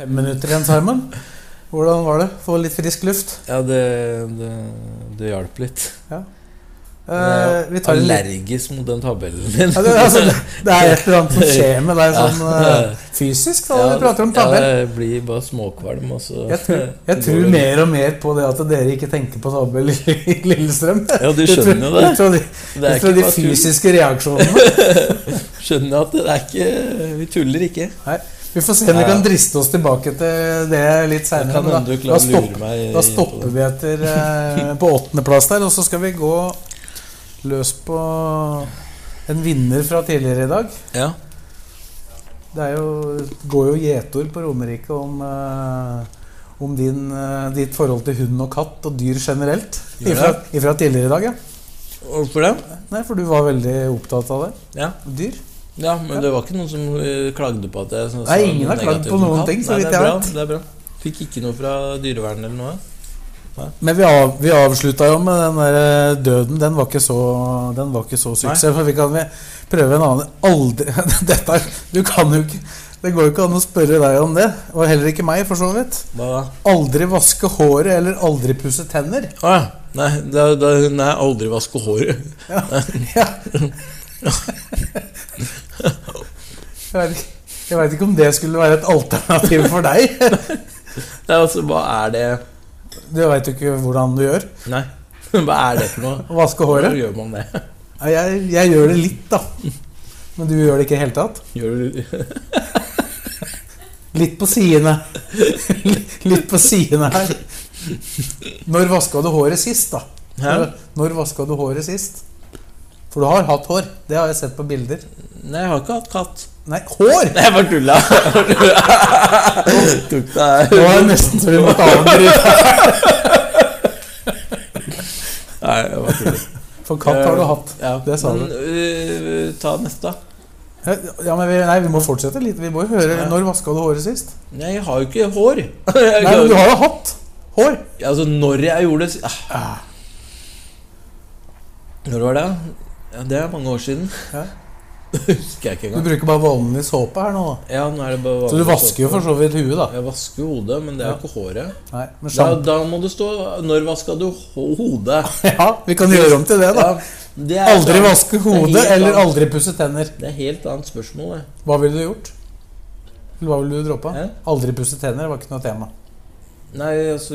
Fem minutter igjen, Simon. Hvordan var det? Få litt frisk luft. Ja, det, det, det hjalp litt. Eh, vi tar en liten- Allergisk mot den tabellen din. ja, det, altså, det er et eller annet som skjer med deg sånn eh, fysisk da Ja, vi prater om tabell. Ja, jeg blir bare småkvalm, og så Jeg tror, jeg tror mer og mer på det at dere ikke tenkte på tabell i Lillestrøm. Ja, du skjønner jo det. Ut fra Det de, er ut fra ikke de bare tull. fysiske reaksjonene. Skjønner at det er ikke Vi tuller ikke. Nei, vi får se om vi Ja. kan driste oss tilbake til det litt seinere. kan Da, hende du klarer da, å lure stopp, meg da inn på stopper det. vi etter eh, på åttendeplass der, og så skal vi gå løs på en vinner fra tidligere i dag. Ja. Det er jo, går jo gjetord på Romerike om, eh, om din, eh, ditt forhold til hund og katt og dyr generelt. Gjør det? Ifra, ifra tidligere i dag, ja. Hvorfor det? Nei, For du var veldig opptatt av det. Ja. Dyr. Ja, men det var ikke noen som eh, klagde på at jeg sa Nei, ingen har negativt klagd på om noen katt. ting, så Nei, vidt det er jeg bra, vet. Det er bra. Fikk ikke noe fra dyrevernet eller noe? Men vi, av, vi avslutta jo med den der eh, døden. Den var ikke så, den var ikke så suksess. For vi kan vi prøve en annen Aldri Dette er Du kan jo ikke Det går jo ikke an å spørre deg om det. Og heller ikke meg, for så vidt. Hva da? Aldri vaske håret eller aldri pusse tenner. Å ja. Nei, da, da, nei, aldri vaske håret. Ja. Jeg vet ikke- jeg veit ikke om det skulle være et alternativ for deg. Nei, altså, hva er det Du veit jo ikke hvordan du gjør. Nei, hva er det for noe? Å vaske Hvordan håret. gjør man det? Ja, Jeg, jeg gjør det litt, da. Men du gjør det ikke i det hele tatt? Gjør du Litt på sidene. Litt på sidene her. Når vaska du håret sist, da? Når, Hæ? når vaska du håret sist? For du har hatt hår. Det har jeg sett på bilder. Nei, jeg har ikke hatt katt. Nei, hår! Nei, jeg bare tulla. Tok deg Det var nesten så vi måtte avbryte. Nei, jeg bare tulla. For katt har du hatt. Ja, Det sa men, øh, ta neste, da. Ja, men vi, nei, vi må fortsette litt. Vi må jo høre Når vaska du håret sist? Nei, jeg har jo ikke hår. Jeg Nei, kan jo men du ikke- har jo hatt hår! Altså, når jeg gjorde det si- ah. Når var det? Ja, det er mange år siden. Ja. Det husker jeg ikke Du engang. bruker bare vanlig såpe her nå, da. Ja, nå er det bare Så du vasker jo for så vidt huet, da. Jeg vasker jo hodet, men det er jo ikke håret. Nei, men Da, sjamp- da må det stå 'Når vaska du ho- hodet?' Ja, vi kan gjøre om til det, da. Ja, det er Aldri sånn- vaske er helt hodet eller annet. aldri pusse tenner. Det er et helt annet spørsmål. Det. Hva ville du gjort? Eller hva ville du droppa? Hæ? Aldri pusse tenner var ikke noe tema. Nei, altså,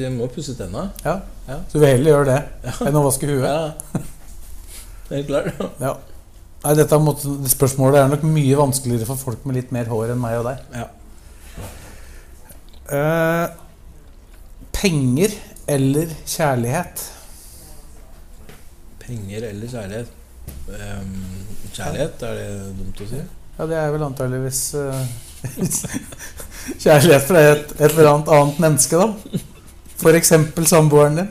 jeg må pusse tenna. Ja. Ja. Så du vil heller gjøre det enn å vaske huet? Ja. Det er klart. Ja. Nei, dette måtte, spørsmålet er nok mye vanskeligere for folk med litt mer hår enn meg og deg. Ja. Eh, penger eller kjærlighet? Penger eller kjærlighet? Ehm, kjærlighet, er det dumt å si? Ja, det er vel antageligvis eh, kjærlighet fra et, et eller annet annet menneske, da. F.eks. samboeren din.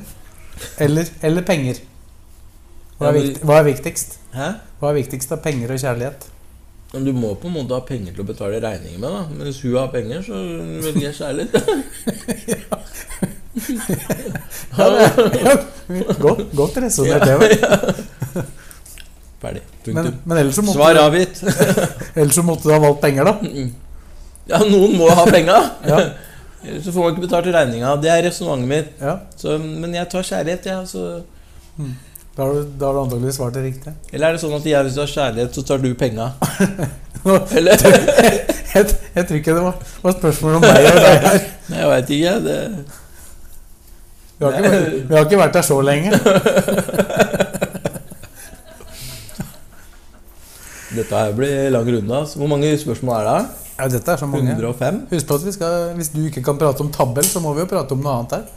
Eller, eller penger. Hva Ja, er, men- vikt, hva er viktigst? Hæ? Hva er viktigst av penger og kjærlighet? Men du må på en måte ha penger til å betale regninger med, da. Men hvis hun har penger, så velger jeg kjærlighet. Ja, det er, ja, godt godt resonnert, det. Var. Ferdig. Men, Punktum. men ellers, så måtte, Svar avgitt. ellers så måtte du ha valgt penger, da. Ja, noen må ha penga. Ja, Ellers så får man ikke betalt regninga. Det er resonnementet mitt. ja. Så, men jeg tar kjærlighet, jeg. så- Da har du, da har du antakeligvis svart det riktig. Eller er det sånn at jeg, hvis du har kjærlighet, så tar du penga? Nå- Eller? Jeg, jeg tror ikke det var, var spørsmål om meg og deg her. Nei, Jeg veit ikke. Det Vi har, ikke, vært- vi har ikke vært der så lenge. Dette her blir lang runde. ass. Hvor mange spørsmål er det? Ja, dette er så mange. 105? Husk på at vi skal, Hvis du ikke kan prate om tabell, så må vi jo prate om noe annet her.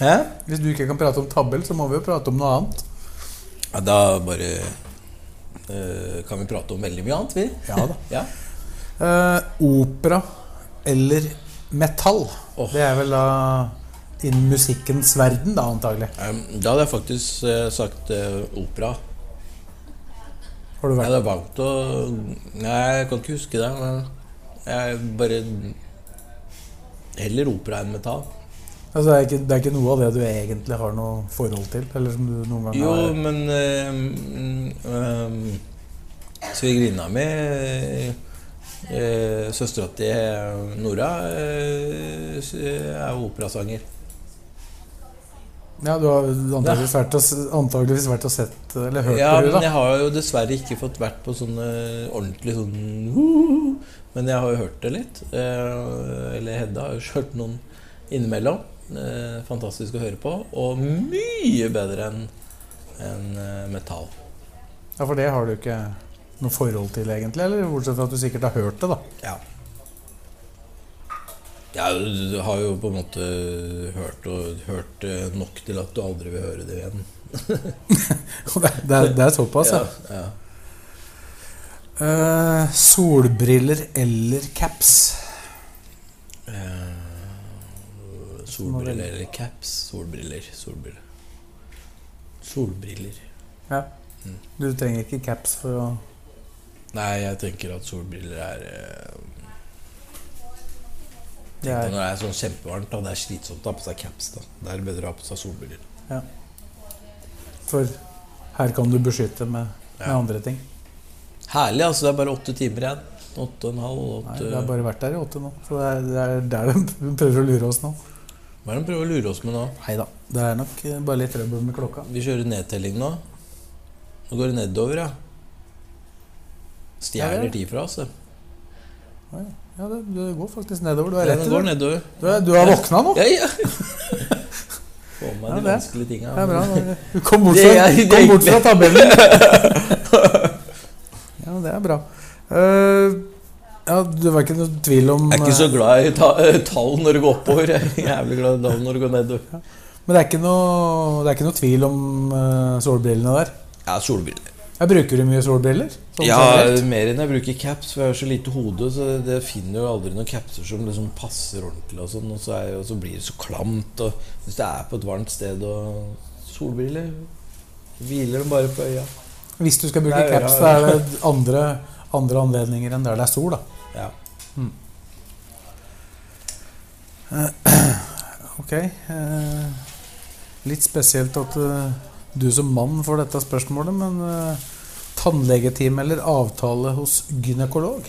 Hæ? Hvis du ikke kan prate om tabell, så må vi jo prate om noe annet. Ja, da bare eh, kan vi prate om veldig mye annet, vi. Ja da. Ja. Eh, opera eller metall. Åh. Det er vel da innen musikkens verden, da, antagelig. Em, Da hadde jeg faktisk eh, sagt eh, opera. Har du Jeg vært hadde valgt å Nei, jeg kan ikke huske det, men jeg bare Heller opera enn metall. altså, det, er ikke, det er ikke noe av det du egentlig har noe forhold til? Eller som du noen gang Jo, har men eh, em, Svigerinna mi, uh, søstera til Nora, eh, s- er jo operasanger. Ja, du har antageligvis vært og, s- antageligvis vært og sett eller hørt Ja, på men henne, jeg har jo dessverre ikke fått vært på sånne ordentlig sånn «Woo!» Men jeg har jo hørt det litt. Eh, Eller Hedda har jo hørt noen innimellom. Eh, Fantastisk å høre på. Og mye bedre enn enn, eh, metall. da. Ja, For det har du ikke noe forhold til, egentlig? Eller bortsett fra at du sikkert har hørt det, da. Ja. ja du, du har jo på en måte hørt, og, hørt eh, nok til at du aldri vil høre det igjen. Det, er, det er såpass, ja. ja. Eh, solbriller eller caps? Solbriller eller caps? Solbriller. Solbriller. Solbriller. Ja. Mm. Du trenger ikke caps for å Nei, jeg tenker at solbriller er eh, Det er Når det er sånn kjempevarmt, da. Det er slitsomt å ha på seg caps. da Det er bedre å ha på seg solbriller. For her kan du beskytte med, med Ja. andre ting. Herlig, altså. Det er bare åtte timer igjen. Åtte og en halv. Nei, Åtte. det har bare vært der i åtte nå. Så det er, det er der de prøver å lure oss nå. Hva er det de prøver å lure oss med nå? Hei da. Det er nok eh, bare litt trøbbel med klokka. Vi kjører nedtelling nå. Nå går det nedover, ja. Ja, Stjeler det. tid fra oss, det. Ja, det, det går faktisk nedover. Du har Den rett i går det. nedover. Du, er- du har våkna nå. Ja, ja. Få med Ja, de det. vanskelige tinga. Det er bra. Du kom bort Det fra, er- det er kom bort fra hyggelig. tabellen. Ja, det er bra. Eh, ja, det var ikke noe tvil om Jeg er ikke så eh, glad i ta tall når det går oppover. Jeg er jævlig glad i tall når det går nedover. eh, Men det er ikke noe, det er ikke noe tvil om eh, solbrillene der. Ja, solbriller. Jeg bruker du mye solbriller? sånn Ja, generelt? mer enn jeg bruker caps, for jeg har så lite hode, så det finner jo aldri noen capser som liksom passer ordentlig, og sånn, og så, er, og så blir det så klamt. Og hvis det er på et varmt sted og solbriller, hviler de bare på øya. Hvis du skal bruke Nei, caps, ja, da ja. er det andre, andre anledninger enn der det er sol. da. Ja. Ok. eh, Litt spesielt at eh, du som mann får dette spørsmålet, men eh, tannlegetime eller avtale hos gynekolog?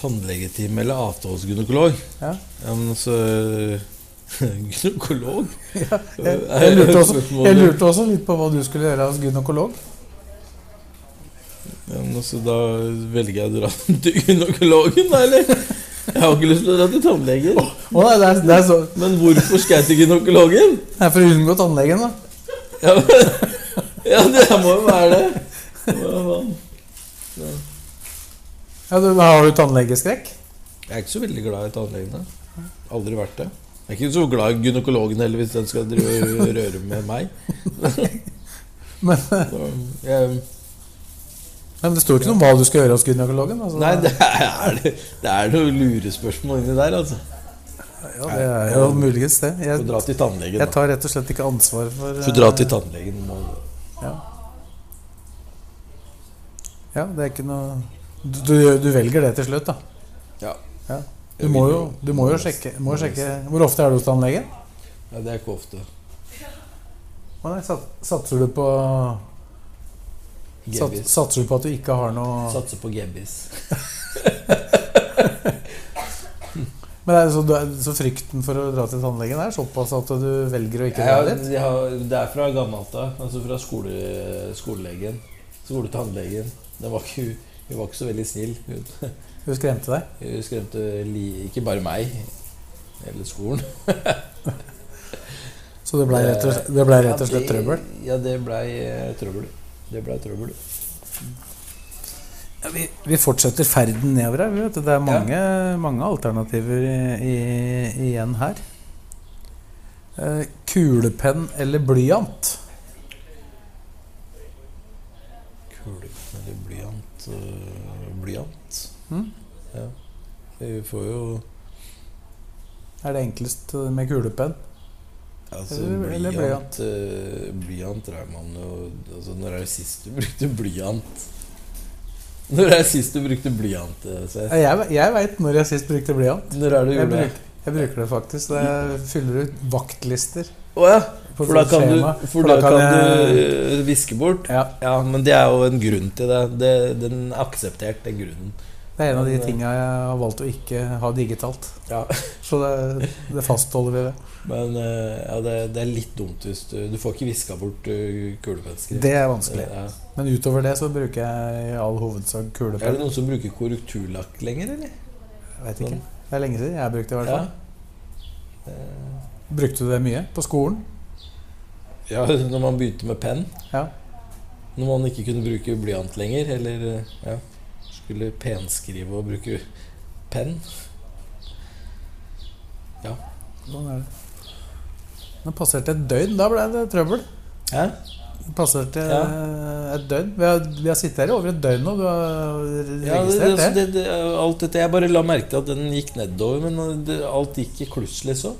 Tannlegetime eller avtale hos gynekolog? Ja. Ja, men altså Gynekolog? Jeg lurte, også, jeg lurte også litt på hva du skulle gjøre hos gynekolog. Ja, men altså, da velger jeg å dra til gynekologen, da, eller? Jeg har ikke lyst til å dra til tannlegen. Å nei, det er, det er så Men hvorfor skal jeg til gynekologen? Det er for å unngå tannlegen, da. Ja, men, ja det må jo være det. Hva faen? Ja, du, har du tannlegeskrekk? Jeg er ikke så veldig glad i tannlegene. Aldri vært det. Jeg er ikke så glad i gynekologen heller, hvis den skal drive og røre med meg. Men, Så, jeg, men det står ikke noe om hva du skal gjøre hos gynekologen. Altså. nei, det er, det er noe lurespørsmål inni der, altså. Ja, det er jo muligens det. Få dra Jeg, til tannlegen, jeg da. tar rett og slett ikke ansvar for Få eh, dra til tannlegen. må du. Ja, det er ikke noe du, du, gjør- du velger det til slutt, da. Ja. Ja. Du må jo, du må jo sjekke, må jo sjekke Hvor ofte er du hos tannlegen? Ja, det er ikke ofte. Å nei, sat, satser du på sat, Gebis. Satser du på at du ikke har noe Satser på gebis. Men det er så, du er, så frykten for å dra til tannlegen er såpass at du velger å ikke Ja, dra dit? de har, det er fra gammelt av. Altså fra skole, skolelegen. Skoletannlegen. Den var ikke, hun var ikke så veldig snill. Hun, Du skremte deg? hun skremte li, ikke bare meg. Hele skolen. Så det ble rett og, slett- det ble rett og slett trøbbel? Ja, det blei eh, trøbbel. Det blei trøbbel. Ja, vi, vi fortsetter ferden nedover her. vi Vet du. Det er mange, mange alternativer i, i, igjen her. Eh, kulepenn eller blyant? Kulepenn eller blyant? øh, blyant. Mm. Ja. Vi får jo Er det enklest med kulepenn? Altså, Eller- eller blyant eh, Blyant er man jo altså, Når er det sist du brukte blyant? Når er det sist du brukte blyant? eh, Seth? Jeg, jeg veit når jeg sist brukte blyant. Når er det du Jeg gjorde det? bruker, jeg bruker det faktisk. Jeg fyller ut vaktlister. Å ja! på sånn For da kan skjema. du, for da kan du eh, viske bort. Ja, Ja, men det er jo en grunn til det. det den er akseptert, den grunnen. Det er en av de Men, eh, tinga jeg har valgt å ikke ha digitalt. Ja. Så det, det fastholder vi ved. Men eh, ja, det, det er litt dumt hvis du Du får ikke viska bort eh, kulepennskrift. Det er vanskelig. Ja. Men utover det så bruker jeg i all hovedsak Er det kulepenn. noen som bruker korrekturlakk lenger, eller? Jeg Vet ikke. sånn- Det er lenge siden jeg brukte det. i hvert fall. Eh, Brukte du det mye på skolen? Ja, når man begynte med penn. Ja. Når man ikke kunne bruke blyant lenger, eller eh, ja, skulle penskrive og bruke penn. Sånn er det. Nå passerte et døgn. Da ble det trøbbel. Hæ? Det Passerte eh, et døgn. Vi har, vi har sittet her i over et døgn nå. Du har Ja, det, det, registrert altså, det? det, det, alt dette, Jeg bare la merke til at den gikk nedover, men eh, det, alt gikk i kluss, liksom.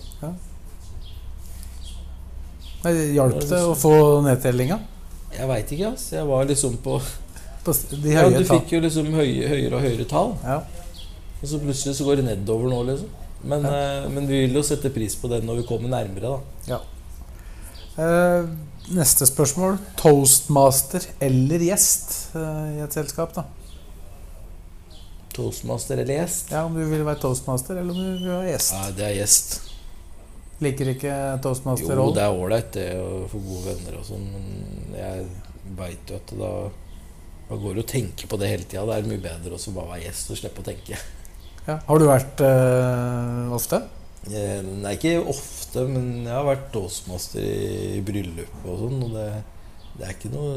Nei, Hjalp det å få nedtellinga? Jeg veit ikke, ass. Jeg var liksom på På s- De Ja, høye du tall. fikk jo liksom høye, høyere og høyere tall. Ja. Og så plutselig så går det nedover nå, liksom. Men, eh, men vi vil jo sette pris på det når vi kommer nærmere, da. Eh, neste spørsmål. Toastmaster eller gjest eh, i et selskap? da Toastmaster eller gjest? Ja, Om du vil være toastmaster eller om du vil være gjest. Ja, det er gjest. Liker ikke Jo, det toastmasterrollen. er ålreit det å få gode venner og sånn, men jeg veit jo at da da går det å tenke på det hele tida. Det er mye bedre også å bare være gjest og slippe å tenke. Ja. Har du vært eh, ofte? Eh, Nei, ikke ofte, men jeg har vært toastmaster i bryllup og sånn. Og det, det, er ikke noe,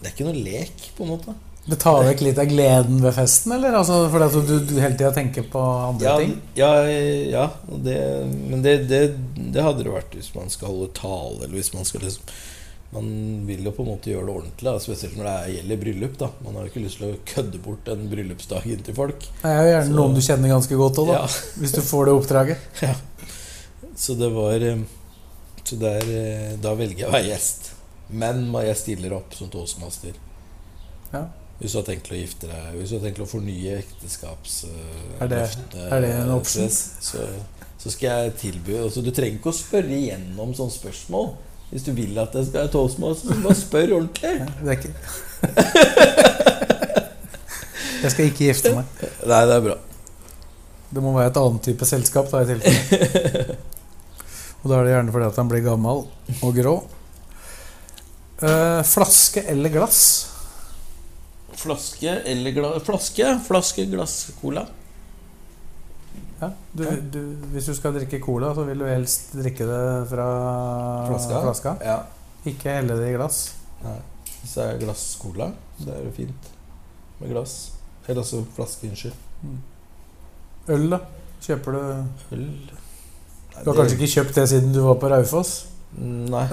det er ikke noe lek, på en måte. Det tar vekk litt av gleden ved festen, eller? Altså, fordi at du, du hele tida tenker på andre Ja, ting? ja, ja og det, men det, det, det hadde det vært hvis man skal holde tale, eller hvis man skal liksom Man vil jo på en måte gjøre det ordentlig, da, spesielt når det er- gjelder bryllup. da Man har jo ikke lyst til å kødde bort den bryllupsdagen til folk. Nei, Jeg er jo gjerne Så- noen du kjenner ganske godt òg, da. Ja, Hvis du får det oppdraget. så det var eh, Så der, eh, da velger jeg å være gjest. Men ma- jeg stiller opp som toastmaster. Ja. Hvis du har tenkt til å gifte deg, hvis du har tenkt til å fornye ekteskaps... eh, Er det- løfte, er det en eh, option? Så, så skal jeg tilby altså, Du trenger ikke å spørre igjennom sånne spørsmål. Hvis du vil at jeg skal være toastmaster, så bare spør ordentlig. Det er ikke Jeg skal ikke gifte meg. Nei, det er bra. Det må være et annet type selskap, da, i tilfelle. Og da er det gjerne fordi at han blir gammel og grå. Eh, flaske eller glass? Flaske eller gla flaske? Flaske, glass, cola. Ja, du, du, hvis du skal drikke cola, så vil du helst drikke det fra Flaska? flaska. Ja. Ikke helle det i glass. Hvis det er glass cola, så er det fint med glass. Eller altså flaske, unnskyld. Øl, da? Kjøper du Øl Du har kanskje ikke kjøpt det siden du var på Raufoss? Nei.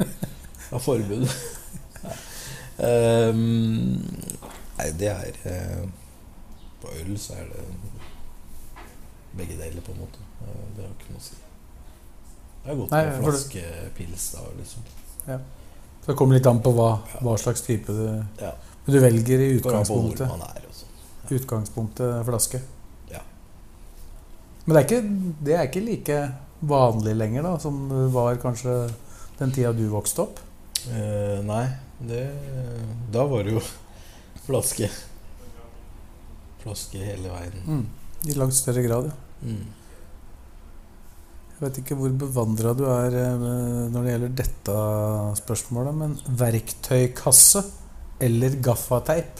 Av forbud. Nei. Ehm, nei, det er eh, På øl så er det begge deler, på en måte. Eh, Det har ikke noe å si. Det er godt Nei, med for du- flaskepils, da, liksom. Så det kommer litt an på hva, hva slags type du Ja. Men du velger i Går an på hvor utgangspunktet, man er og sånn. utgangspunktet flaske. Ja. Men det er, ikke, det er ikke like vanlig lenger da, som det var kanskje den tida du vokste opp. Eh, nei, det Da var det jo flaske. Flaske hele Mm. veien. I langt større grad, ja. Mm. Jeg vet ikke hvor bevandra du er eh, når det gjelder dette spørsmålet, men verktøykasse eller gaffateip?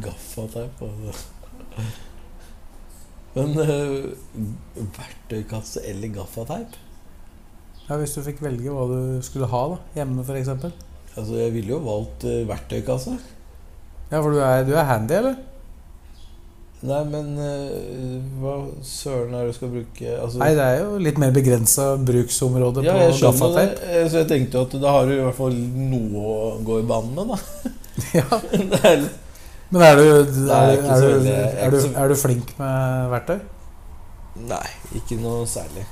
Gaffateip altså. Men eh, verktøykasse eller gaffateip? Ja, hvis du fikk velge hva du skulle ha da, hjemme f.eks. Altså, jeg ville jo valgt eh, verktøykasse. Ja, for du er, du er handy, eller? Nei, men eh, hva søren er det du skal bruke altså, Nei, det er jo litt mer begrensa bruksområde ja, jeg på skjønner det, gaffateip. eh, så jeg tenkte jo at da har du i hvert fall noe å gå i banen med, da. Ja, Det er litt- Men er du, er, Nei, ikke er, så du, veldig. Jeg er er, du, ikke så- er du flink med verktøy? Nei, ikke noe særlig.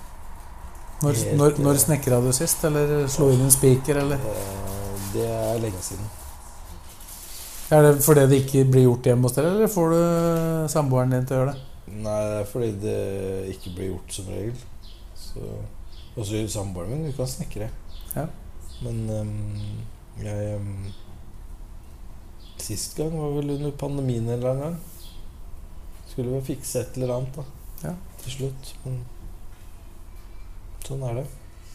Når, Helt, når, eh, når snekra du sist? Eller slo inn en spiker? Eller? Eh, Det er lenge siden. Er det fordi det ikke blir gjort hjemme hos dere, eller får du eh, samboeren din til å gjøre det? Nei, det er fordi det ikke blir gjort som regel. Så, også i samboeren min, vi kan snekre. Ja. Men ehm, jeg ehm, Sist gang var vel under pandemien en eller annen gang. Skulle vel fikse et eller annet da, Ja. til slutt. Men sånn er det.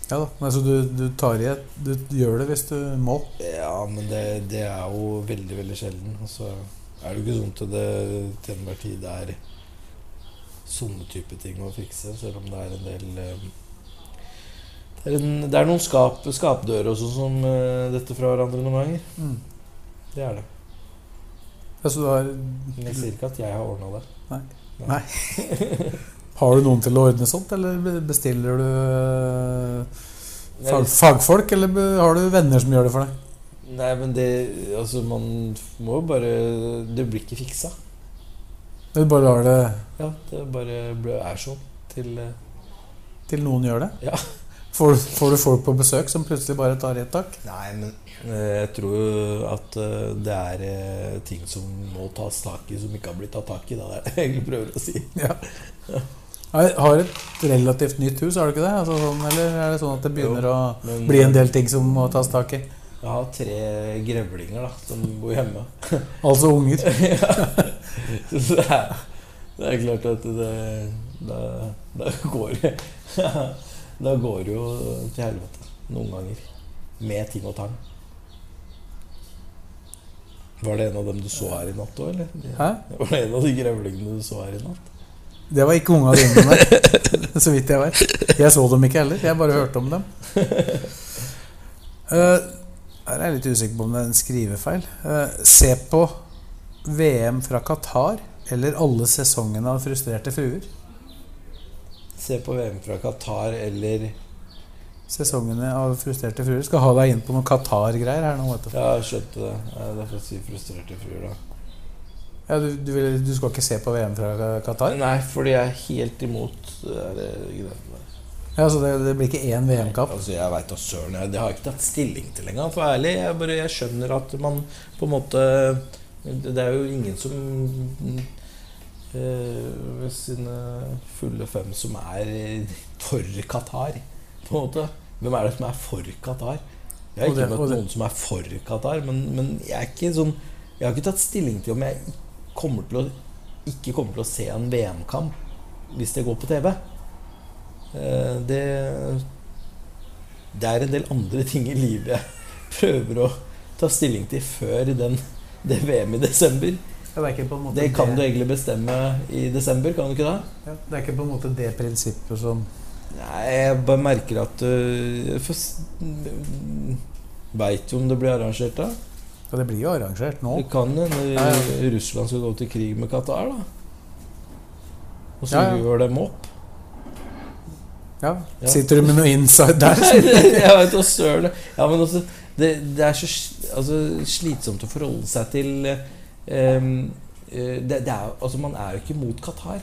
Ja da. Nei, så du, du tar i et Du gjør det hvis du må. Ja, men det, det er jo veldig, veldig sjelden. Og så er det jo ikke sånn til det til enhver tid det er sånne type ting å fikse, selv om det er en del eh, Det er, en, det er noen skap, skapdører også som eh, detter fra hverandre noen ganger. Mm. Det er det. Ja, så du har, Men jeg sier ikke at jeg har ordna det. har du noen til å ordne sånt, eller bestiller du eh, Jeg- fag, fagfolk? Eller be- har du venner som gjør det for deg? Nei, men det Altså, man må jo bare Det blir ikke fiksa. Du bare lar det Ja, det bare ble- er sånn til eh, til noen gjør det? Ja. Får, du- får du folk på besøk som plutselig bare tar i et tak? Nei, men eh, Jeg tror jo at eh, det er eh, ting som må tas tak i, som ikke har blitt tatt tak i. Da. Det er det jeg egentlig prøver å si. Jeg har et relativt nytt hus, har du ikke det? Altså, sånn, eller er det sånn at det begynner men- eh, å bli en del ting som må tas tak i? Jeg har tre grevlinger da, som bor hjemme. Altså unger. Så det er, det er klart at det Da, da går det Da går det jo til helvete noen ganger. Med ting og tang. Var det en av dem du så her i natt òg, eller? Hæ? Var det en av de grevlingene du så her i natt? Det var ikke unga dine, nei. Så vidt jeg vet. Jeg så dem ikke heller. Jeg bare hørte om dem. Eh, her er jeg litt usikker på om det er en skrivefeil. Eh, se på VM fra Qatar eller alle sesongene av Frustrerte fruer. Se på VM fra Qatar eller Sesongene av Frustrerte fruer. Skal ha deg inn på noen Qatar-greier her nå, vet du. Ja, jeg skjønte det. Jeg er derfor si frustrerte fruer, da. Ja, du, du, vil, du skal ikke se på VM fra Qatar? Nei, fordi jeg er helt imot eh, det der greiene der. Ja, så det, det blir ikke én VM-kamp? Altså, jeg veit da søren. jeg- Det har jeg ikke tatt stilling til engang. For ærlig, jeg, bare, jeg skjønner at man på en måte Det er jo ingen som eh, ved sine fulle fem som er for Qatar, på en måte. Hvem er det som er for Qatar? Jeg har Og det- ikke og møtt det- noen som er for Qatar, men, men jeg, er ikke sånn, jeg har ikke tatt stilling til om jeg kommer til å, ikke kommer til å se en VM-kamp hvis det går på TV. Eh, Det det er en del andre ting i livet jeg prøver å ta stilling til før den, det VM i desember. Ja, det, er ikke på en måte Det kan du det, egentlig bestemme i desember, kan du ikke det? ja, det er ikke på en måte det prinsippet som Nei, jeg bare merker at eh, øh, Veit du om det blir arrangert, da? Ja, det blir jo arrangert nå. Det kan hende Ja, Russland skal gå til krig med Qatar, da. Og så Ja, ja. gjør dem opp. Ja. Ja. Sitter du med noe inside der? Nei, det- jeg vet da søren. Ja, men altså, det, det er så sl- altså, slitsomt å forholde seg til eh, em, eh, det, det er, jo- altså, Man er jo ikke mot Qatar.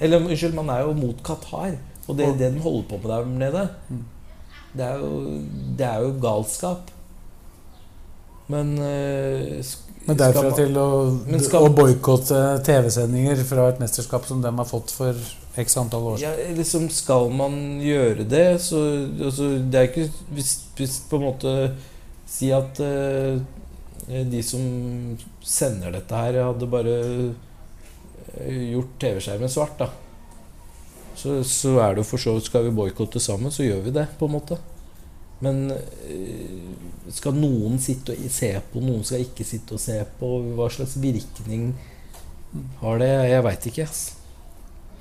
Eller unnskyld, man er jo mot Qatar og det, det de holder på med der nede. Mm. Det er jo, det er jo galskap. Men eh, sk- Men skal derfra man- til å, Men skal- å boikotte TV-sendinger fra et mesterskap som de har fått for x antall år siden. Ja, liksom Skal man gjøre det, så altså, Det er ikke hvis, hvis på en måte Si at eh, de som sender dette her, hadde bare eh, gjort TV-skjermen svart, da. Så, så er det jo for så vidt Skal vi boikotte sammen, så gjør vi det, på en måte. Men eh, skal noen sitte og se på, noen skal ikke sitte og se på? Hva slags virkning har det? Jeg veit ikke. ass.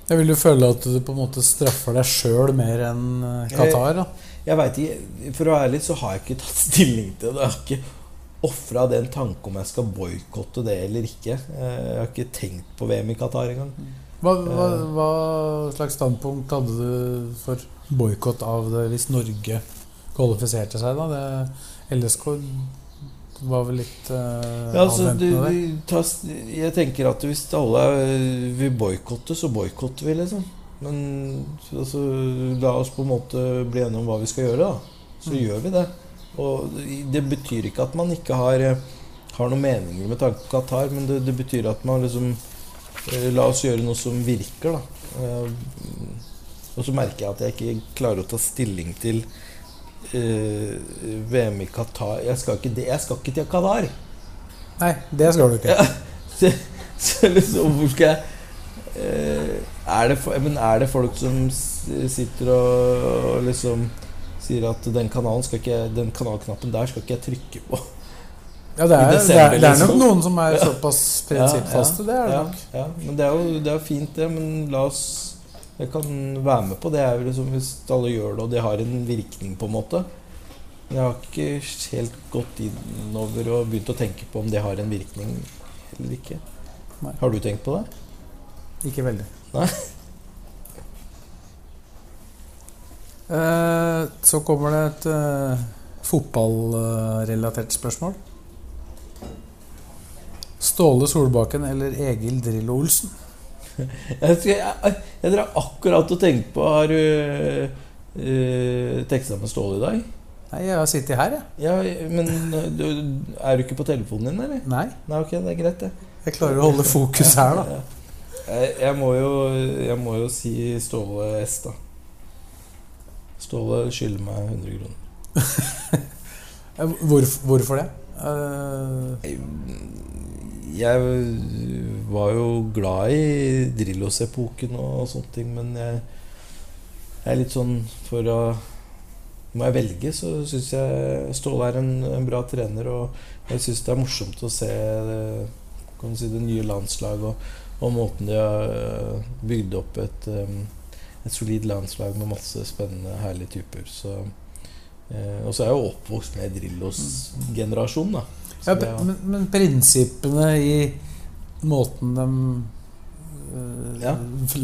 Jeg vil jo føle at du på en måte straffer deg sjøl mer enn eh, Qatar. da. Jeg veit ikke For å være ærlig så har jeg ikke tatt stilling til det. Jeg har ikke ofra den tanke om jeg skal boikotte det eller ikke. Eh, Jeg har ikke tenkt på VM i Qatar engang. Hva, hva, hva slags standpunkt hadde du for boikott av det hvis Norge kvalifiserte seg? da? Det, LSK Det var vel litt eh, Ja, altså, du, avventende der. du tar, s- jeg tenker at hvis alle er- vil boikotte, så boikotter vi, liksom. Men altså, la oss på en måte bli enige om hva vi skal gjøre, da. Så gjør vi det. Og det betyr ikke at man ikke har, eh, har noen meninger med tanke på Qatar, men det, det betyr at man liksom eh, La oss gjøre noe som virker, da. Eh, Og så merker jeg at jeg ikke klarer å ta stilling til eh, VM i Qatar Jeg skal ikke, det- jeg skal ikke til Qatar! Nei, det skal du ikke. Ja. Så, så liksom, hvor skal jeg eh, er det, fo- Men er det folk som s- sitter og, og liksom sier at den kanalen skal ikke jeg- Den kanalknappen der skal ikke jeg trykke på? Ja, I det, er, det, desember, er, det er nok liksom. noen som er såpass prinsippfaste. Ja, Det er det ja, nok. ja, men det er jo det er fint, det. Men la oss Jeg kan være med på det. Jeg, liksom, hvis alle gjør det, og det har en virkning, på en måte. Men jeg har ikke helt gått innover og begynt å tenke på om det har en virkning eller ikke. Nei. Har du tenkt på det? Ikke veldig. Nei. Eh, så kommer det et eh, fotballrelatert spørsmål. Ståle Solbakken eller Egil Drillo Olsen? Jeg, skal, jeg, jeg drar akkurat og tenker på Har du øh, teksta med Ståle i dag? Nei, jeg har sittet her, jeg. Ja, men du, er du ikke på telefonen din, eller? Nei, Nei, ok, det er greit, det. jeg klarer å holde fokus her, da. Jeg, jeg, må jo, jeg må jo si Ståle S, da. Ståle skylder meg 100 kroner. Eh, Hvorf, hvorfor det? Eh, Jeg var jo glad i Drillos-epoken og sånne ting, men jeg, jeg er litt sånn for å Må jeg velge, så syns jeg Ståle er en, en bra trener, og jeg syns det er morsomt å se eh, kan du si, det nye landslaget og, og måten de har eh, bygd opp et, eh, et solid landslag med masse spennende, herlige typer. Så, eh, og så er jeg jo oppvokst med Drillos-generasjonen, da. Så ja, det er- men, men prinsippene i måten de eh, Ja.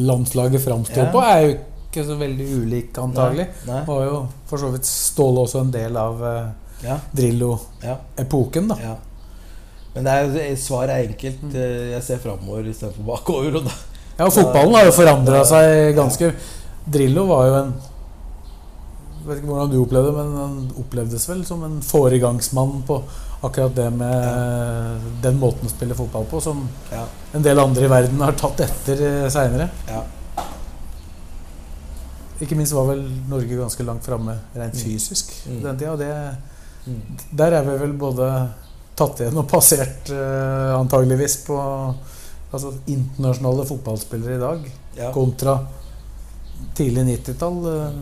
landslaget framstår Ja. på, er jo ikke så veldig ulik, antagelig. Nei, nei, Var jo for så vidt Ståle også en del av eh, ja, ja, Drillo-epoken, da. ja. Men det er, svaret er enkelt. Eh, Jeg ser framover istedenfor bakover. Og da. Ja, og fotballen har jo forandra seg ganske. Drillo var jo en jeg vet ikke hvordan du opplevde det, men han opplevdes vel som en foregangsmann på akkurat det med den måten å spille fotball på, som Ja. en del andre i verden har tatt etter eh, seinere. Ja. Ikke minst var vel Norge ganske langt framme rent fysisk Mm. den tida. og Det, Mm. der er vi vel både tatt igjen og passert, eh, antageligvis, på altså, internasjonale fotballspillere i dag Ja. kontra tidlig 90-tall. eh,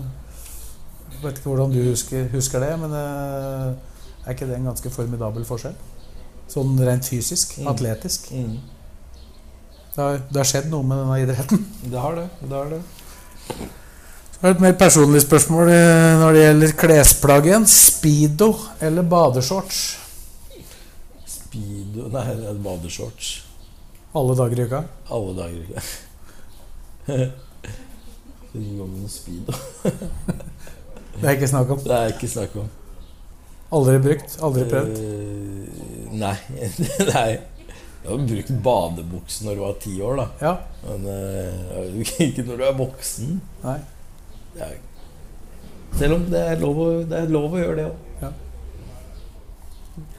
Jeg vet ikke hvordan du husker, husker det, men eh, er ikke det en ganske formidabel forskjell? Sånn rent fysisk, Mm. atletisk. Mm. Det har, det har skjedd noe med denne idretten. Det har det. det, har det. Så er det Et mer personlig spørsmål eh, når det gjelder klesplagg igjen. Speedo eller badeshorts? Speedo Nei, det er badeshorts. Alle dager i uka. Alle dager i uka. Ingen gang med noe speedo. Det er ikke snakk om. Det er ikke snakk om. Aldri brukt, aldri prøvd. Eh, nei. nei. Jeg har brukt badebukse når du var ti år, da. Ja, Men eh, ikke når du er voksen. nei. Det er- Selv om det er lov å, det er lov å gjøre det òg.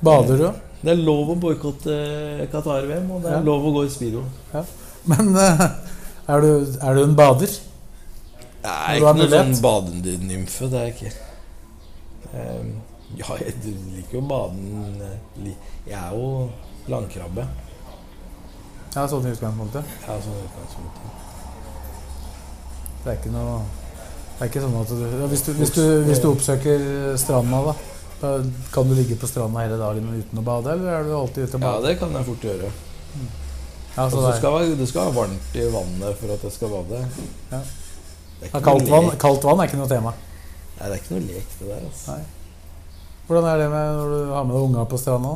Bader du? Det er lov å boikotte Qatar-VM, og det er Ja. lov å gå i speedo. Men eh, er du, er du en bader? Nei, Du har ikke noe mulighet. sånn badenymfe. Det er jeg ikke. Ehm, ja, jeg liker jo baden eh, li- Jeg er jo landkrabbe. Ja, sånn i utgangspunktet. Jeg er sånn i utgangspunktet. Det er ikke noe Det er ikke sånn at du ja, hvis, du, hvis, du, hvis du oppsøker stranda, da, da kan du ligge på stranda hele dagen uten å bade, eller er du alltid ute Ja, og bader? det kan jeg fort gjøre. Ja, Og så så det er- skal være- Altså, det skal være varmt i vannet for at jeg skal bade. Ja. Det er ikke ja, kaldt, noe vann, lek. kaldt vann er ikke noe tema. Nei, det er ikke noe lek, det der. Altså. Nei. Hvordan er det med når du har med deg unga på stranda?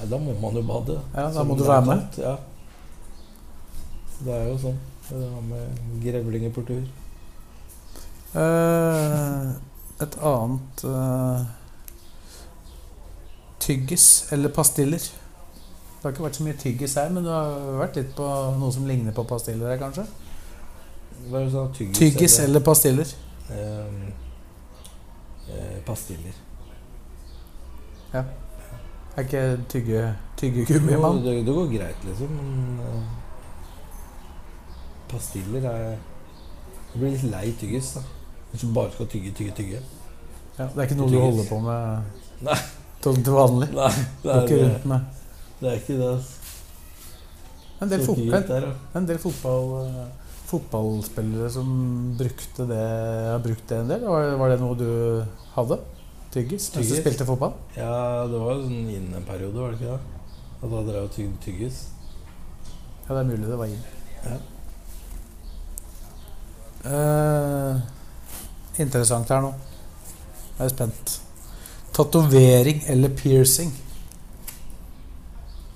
Nei, da må man jo bade. Ja, da Som må du det er være med. kaldt, Ja. Det er jo sånn. Det har med grevlinger på tur. Eh, et annet eh, Tyggis eller pastiller? Det har ikke vært så mye tyggis her, men du har vært litt på noe som ligner på pastiller her, kanskje? Hva er det du sa? Tyggis, Tyggis eller pastiller? ehm, eh, Pastiller. Er ikke tygge, tyggegummi, Jo, mann? det, det går greit, liksom, men eh, Pastiller er Jeg blir litt lei tyggis, da. Hvis du bare skal tygge, tygge, tygge. Ja, det er ikke noe du tyggis. holder på med Nei. til til vanlig? Nei, Du det er er, ikke rundt med det er ikke det. ass. En del, Så fot dyrt en, der, da. en del fotball, eh, fotballspillere som brukte det, har brukt det en del. Var, var det noe du hadde? Tyggis? Mens du Tyggis. spilte fotball? Ja, det var jo sånn inn en periode, var det ikke det? At da drev og tygde tyggis. Ja, det er mulig det var inn. Ja. Eh, interessant her nå. Jeg er spent. Tatovering eller piercing?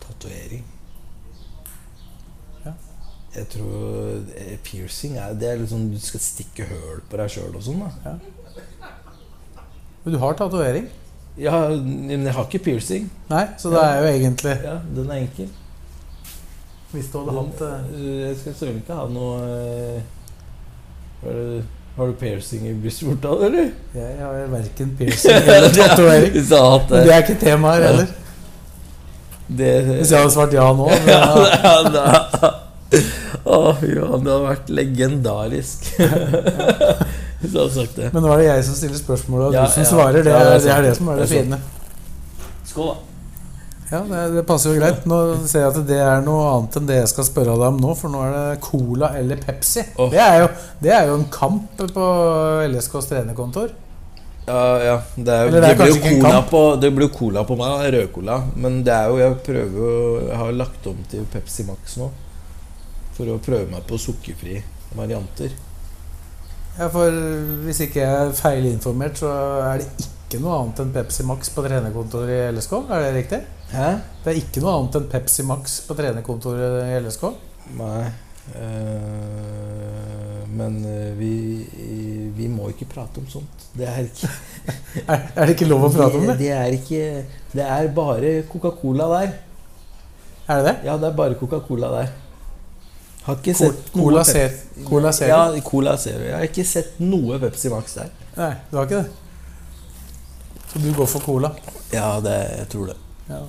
Tatovering. Ja. Jeg tror eh, piercing er Det er liksom du skal stikke høl på deg sjøl og sånn, da. Men du har tatovering? Ja, men jeg har ikke piercing. Nei, så det er jo egentlig Ja, Den er enkel. Hvis du Den- Eh, Jeg skal søren ikke ha noe eh, hva er det- Har du piercing i brystvorta, eller? Jeg har verken piercing eller tatovering. Hvis jeg hadde hatt Men det. det er ikke tema her heller. det Hvis jeg hadde svart ja nå men, eh, Ja, ja, det er det. Å, fy faen, det hadde vært legendarisk. Hvis jeg hadde sagt det. men nå er det jeg som stiller spørsmålet, og Ja, du som ja. svarer. Det Ja, det er er, det, er sant. det som er Det det er sant. fine. Skål, da. Ja, det, det passer jo greit. Nå ser jeg at det er noe annet enn det jeg skal spørre deg om nå, for nå er det Cola eller Pepsi. Åh. Det, er jo, det er jo en kamp på LSKs trenerkontor. Ja, ja. Det, er, Eller det, det er blir jo kanskje ikke en cola kamp. på, det blir jo cola på meg, da, rødcola. Men det er jo, jeg prøver jo Jeg har lagt om til Pepsi Max nå. For å prøve meg på sukkerfri varianter. Ja, for Hvis ikke jeg er feilinformert, så er det ikke noe annet enn Pepsi Max på trenerkontoret i LSK. Er det riktig? Hæ? Det er ikke noe annet enn Pepsi Max på trenerkontoret i LSK. Nei. Eh, men eh, vi, vi må ikke prate om sånt. Det er ikke Er, er det ikke lov å prate om det, det? det er ikke Det er bare Coca-Cola der. Er det det? Ja, det er bare Coca-Cola der. Har ikke Col- sett Cola noe Zero. Cola Pepsi. Zero. Ja, Cola Zero. Jeg har ikke sett noe Pepsi Max der. Nei, du har ikke det? Så du går for Cola? Ja, det, jeg tror det. Ja.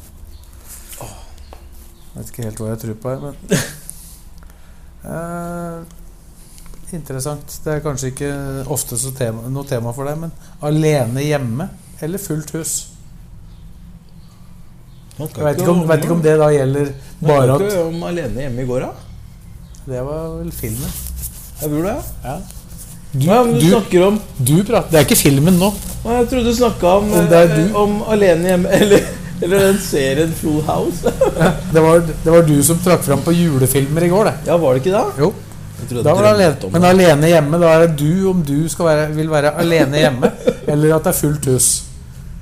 Vet ikke helt hva jeg tror på her, men Eh, Interessant. Det er kanskje ikke ofte så tema, noe tema for deg, men alene hjemme eller fullt hus? Jeg vet ikke, om, vet ikke om det da gjelder bare at om Alene hjemme i går, da? Det var vel filmen. Jeg tror det. Ja. Du, ja, men du, du- snakker om Du prater Det er ikke filmen nå. Å, Jeg trodde du snakka om, Om det er eh, du. om Alene hjemme eller, eller den serien Full House. Det var, det var du som trakk fram på julefilmer i går, det. Ja, var det ikke da? Jo, Jeg trodde da jeg var det drømte alene. om Men alene hjemme, da er det du om du skal være, vil være alene hjemme, eller at det er fullt hus.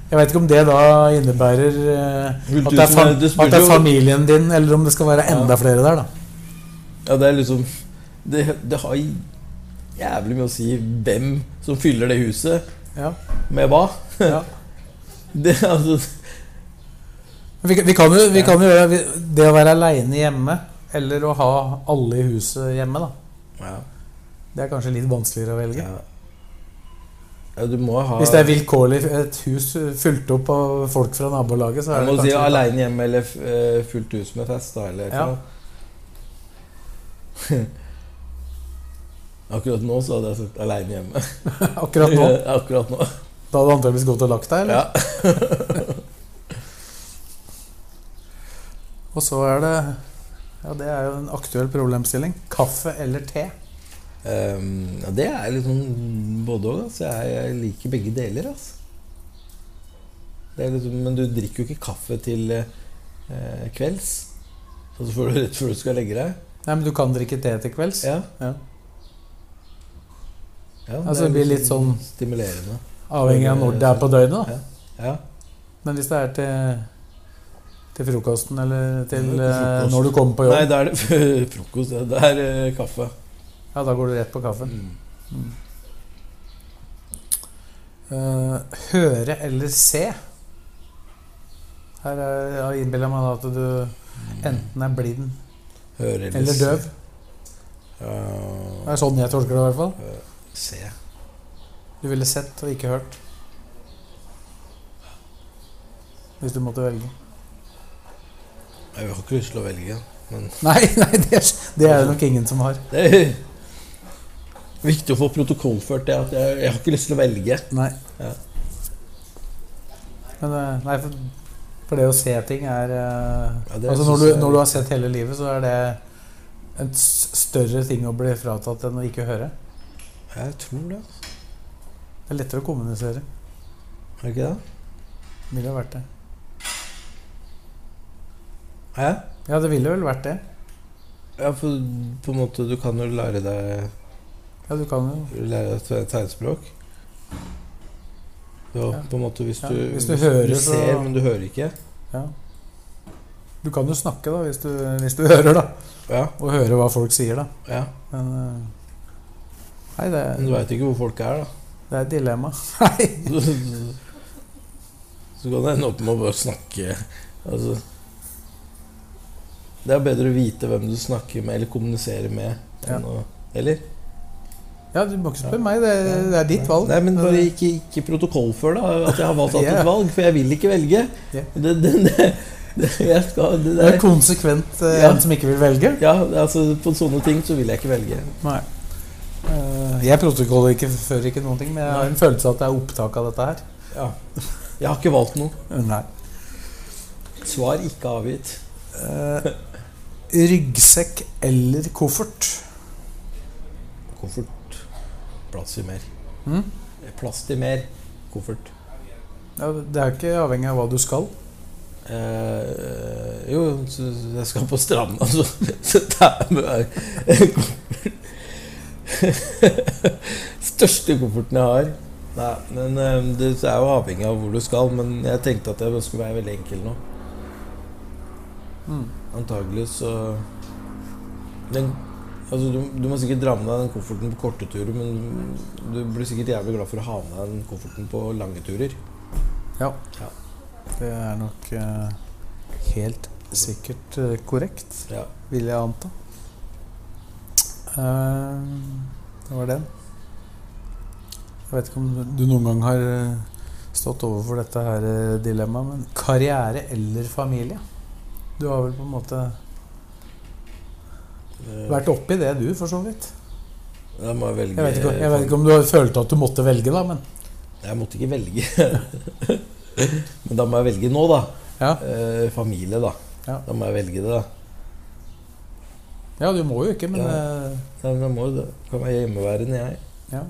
Jeg vet ikke om det da innebærer eh, Fullt at, det er hus, fam men du spurte at det er jo- familien din, eller om det skal være enda Ja. flere der, da. Ja, det er liksom Det, det har jævlig mye å si hvem som fyller det huset Ja. med hva. Ja. Det, altså, Men Vi, vi, kan jo, vi kan jo gjøre vi- det å være aleine hjemme, eller å ha alle i huset hjemme, da. ja, Det er kanskje litt vanskeligere å velge. ja. ja, du må ha Hvis det er vilkårlig et hus fulgt opp av folk fra nabolaget, så Jeg er det må si kanskje aleine hjemme eller f- eh, fullt hus med fest, da. Eller, et Ja. eller annet. Akkurat nå så hadde jeg sett aleine hjemme. akkurat nå. Akkurat nå. Da hadde du antakeligvis gått og lagt deg, eller? Ja. Og så er det Ja, det er jo en aktuell problemstilling. Kaffe eller te? Ehm, ja, det er liksom både òg. Altså. Jeg, jeg liker begge deler. Altså. Det er liksom, men du drikker jo ikke kaffe til eh, kvelds. Og så får du rett før du skal legge deg. Nei, men du kan drikke te til kvelds. Ja. Ja. Ja, Altså, er det blir litt sånn- Stimulerende. Avhengig av når det er på døgnet, da. Ja. Men hvis det er til, til frokosten eller til Ja, til eh, frokost. når du kommer på Nei, jobb, da er det frokost. ja. Det er eh, kaffe. ja, da går du rett på kaffen. Eh, høre eller se? Her er- Jeg innbiller meg da at du enten er blind Hører eller døv. Ja, Eh, Det er sånn jeg tolker det, i hvert fall. se. Du ville sett og ikke hørt. Hvis du måtte velge. Jeg har ikke lyst til å velge, men Nei, nei det, er, det er det nok ingen som har. det er viktig å få protokollført det. At jeg, jeg har ikke lyst til å velge. Nei. Ja. Men eh, nei, for, for det å se ting er eh, Ja, det Altså synes når du, jeg er når du har litt- sett hele livet, så er det en s- større ting å bli fratatt enn å ikke høre. Jeg tror det. altså. Det er lettere å kommunisere. Er det ikke det? Ville ha vært det. Hæ? Ja, det ville vel vært det. Ja, for på en måte du kan jo lære deg Ja, du kan jo lære deg te- tegnspråk. Ja, Ja. på en måte hvis Ja, du, hvis du hører, du så- ser, men du hører ikke. Ja. Du kan jo snakke, da, hvis du, hvis du hører, da. Ja, Og høre hva folk sier, da. ja. Men eh, Nei, det, Men du veit ikke hvor folk er, da. det er et dilemma. Nei. Så kan det ende opp med å bare snakke altså, Det er bedre å vite hvem du snakker med eller kommuniserer med. Ja. Enn å, eller? Ja, du må ikke spørre meg. Det, det er ditt valg. Nei, men bare det- ikke, ikke protokollfør da, at jeg har valgt at Ja. et valg, for jeg vil ikke velge. Ja. Det, det, det, det, jeg skal, det, det er der- konsekvent eh, Ja. en som ikke vil velge. ja, altså På sånne ting så vil jeg ikke velge. Nei. Eh, jeg protokoller ikke før ikke noen ting, men jeg har en følelse av at det er opptak av dette her. Ja. Jeg har ikke valgt noe. Eh, Nei. Svar ikke avgitt. Eh, ryggsekk eller koffert? Koffert. Plass til mer. Mm? Plass til mer. Koffert. Ja, det er jo ikke avhengig av hva du skal. Eh, jo, så jeg skal på stranda, så, så tar jeg med meg en koffert. Største kofferten jeg har. Nei, men eh, Det er jo avhengig av hvor du skal, men jeg tenkte at jeg skulle være veldig enkel nå. Mm. Antagelig så den, altså, du, du må sikkert dra med deg den kofferten på korte turer, men du blir sikkert jævlig glad for å ha med deg den kofferten på lange turer. Det er nok eh, helt sikkert eh, korrekt, Ja. vil jeg anta. Eh, det var den. Jeg vet ikke om du noen gang har eh, stått overfor dette her eh, dilemmaet, men karriere eller familie? Du har vel på en måte Eh, vært oppi det, du, for så vidt. Da må jeg velge Jeg vet ikke, jeg vet ikke om du har følt at du måtte velge, da, men Jeg måtte ikke velge. Men da må jeg velge nå, da. Ja. Eh, familie, da. Ja. Da må jeg velge det, da. Ja, du må jo ikke, men Ja. eh, Ja, men jeg må jo det. Kan være hjemmeværende, jeg. Ja.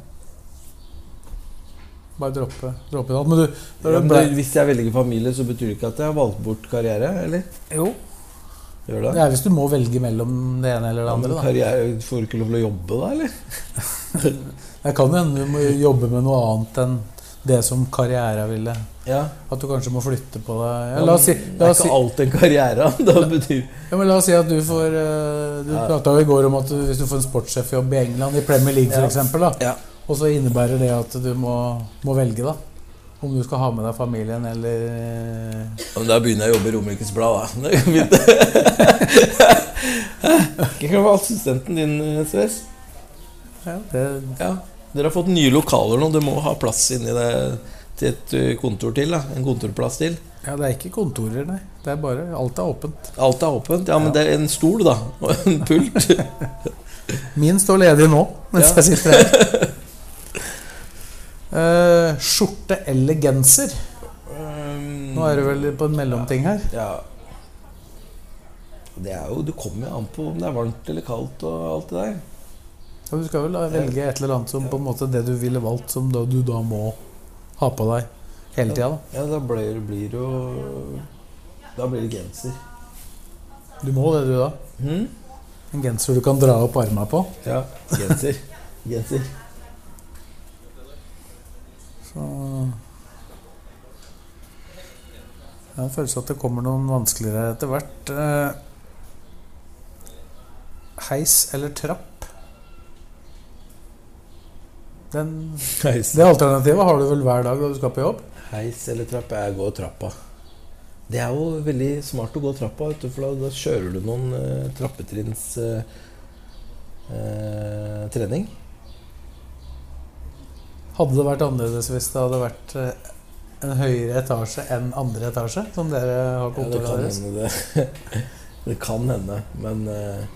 Bare droppe, droppe det alt. Men du, da Ja, du men ble, det- hvis jeg velger familie, så betyr det ikke at jeg har valgt bort karriere, eller? jo, Gjør det er hvis du må velge mellom det ene eller det Ja, men andre. Da. karriere, får du ikke lov til å jobbe da, eller? Det kan jo hende du må jobbe med noe annet enn det som karriere ville. Ja. At du kanskje må flytte på deg. Ja, Ja, la, oss si, men la, det er oss si, ikke alt en karriere. Da betyr ja, men la oss si at du får eh, Du Ja. prata jo i går om at du, hvis du får en sportssjefjobb i England, i Premier League Ja. f.eks., da, Ja. og så innebærer det at du må, må velge, da. Om du skal ha med deg familien eller Ja, men Da begynner jeg å jobbe i Romerikes Blad, da. Det er jo fint. Jeg kan være assistenten din, eh, Sves. ja, det, Ja, Dere har fått nye lokaler nå. Du må ha plass inni det til et ø, kontor til. da En kontorplass til. ja, det er ikke kontorer, nei. Det er bare Alt er åpent. Alt er åpent. Ja, men det er en stol, da. Og en pult. Min står ledig nå, mens Ja. jeg sitter her. Eh, skjorte eller genser? Nå er du vel på en mellomting her. Ja. Det er jo Det kommer jo an på om det er varmt eller kaldt og alt det der. Ja, Du skal vel da velge et eller annet som på en måte det du ville valgt, som da, du da må ha på deg hele tida. da. Ja, da blir blir det jo Da blir det genser. Du må det, du da. Mhm. En genser du kan dra opp armene på. Ja, genser. genser. Så Jeg har en følelse at det kommer noen vanskeligere etter hvert. Eh, heis eller trapp? Den Heis. Det alternativet har du vel hver dag da du skal på jobb? Heis eller trapp? Jeg går trappa. Det er jo veldig smart å gå trappa, vet du, for da, da kjører du noen eh, trappetrinns eh, eh, trening. Hadde det vært annerledes hvis det hadde vært eh, en høyere etasje enn andre etasje? Som dere har Ja, det kontoret kan deres? hende det. det kan hende, men eh,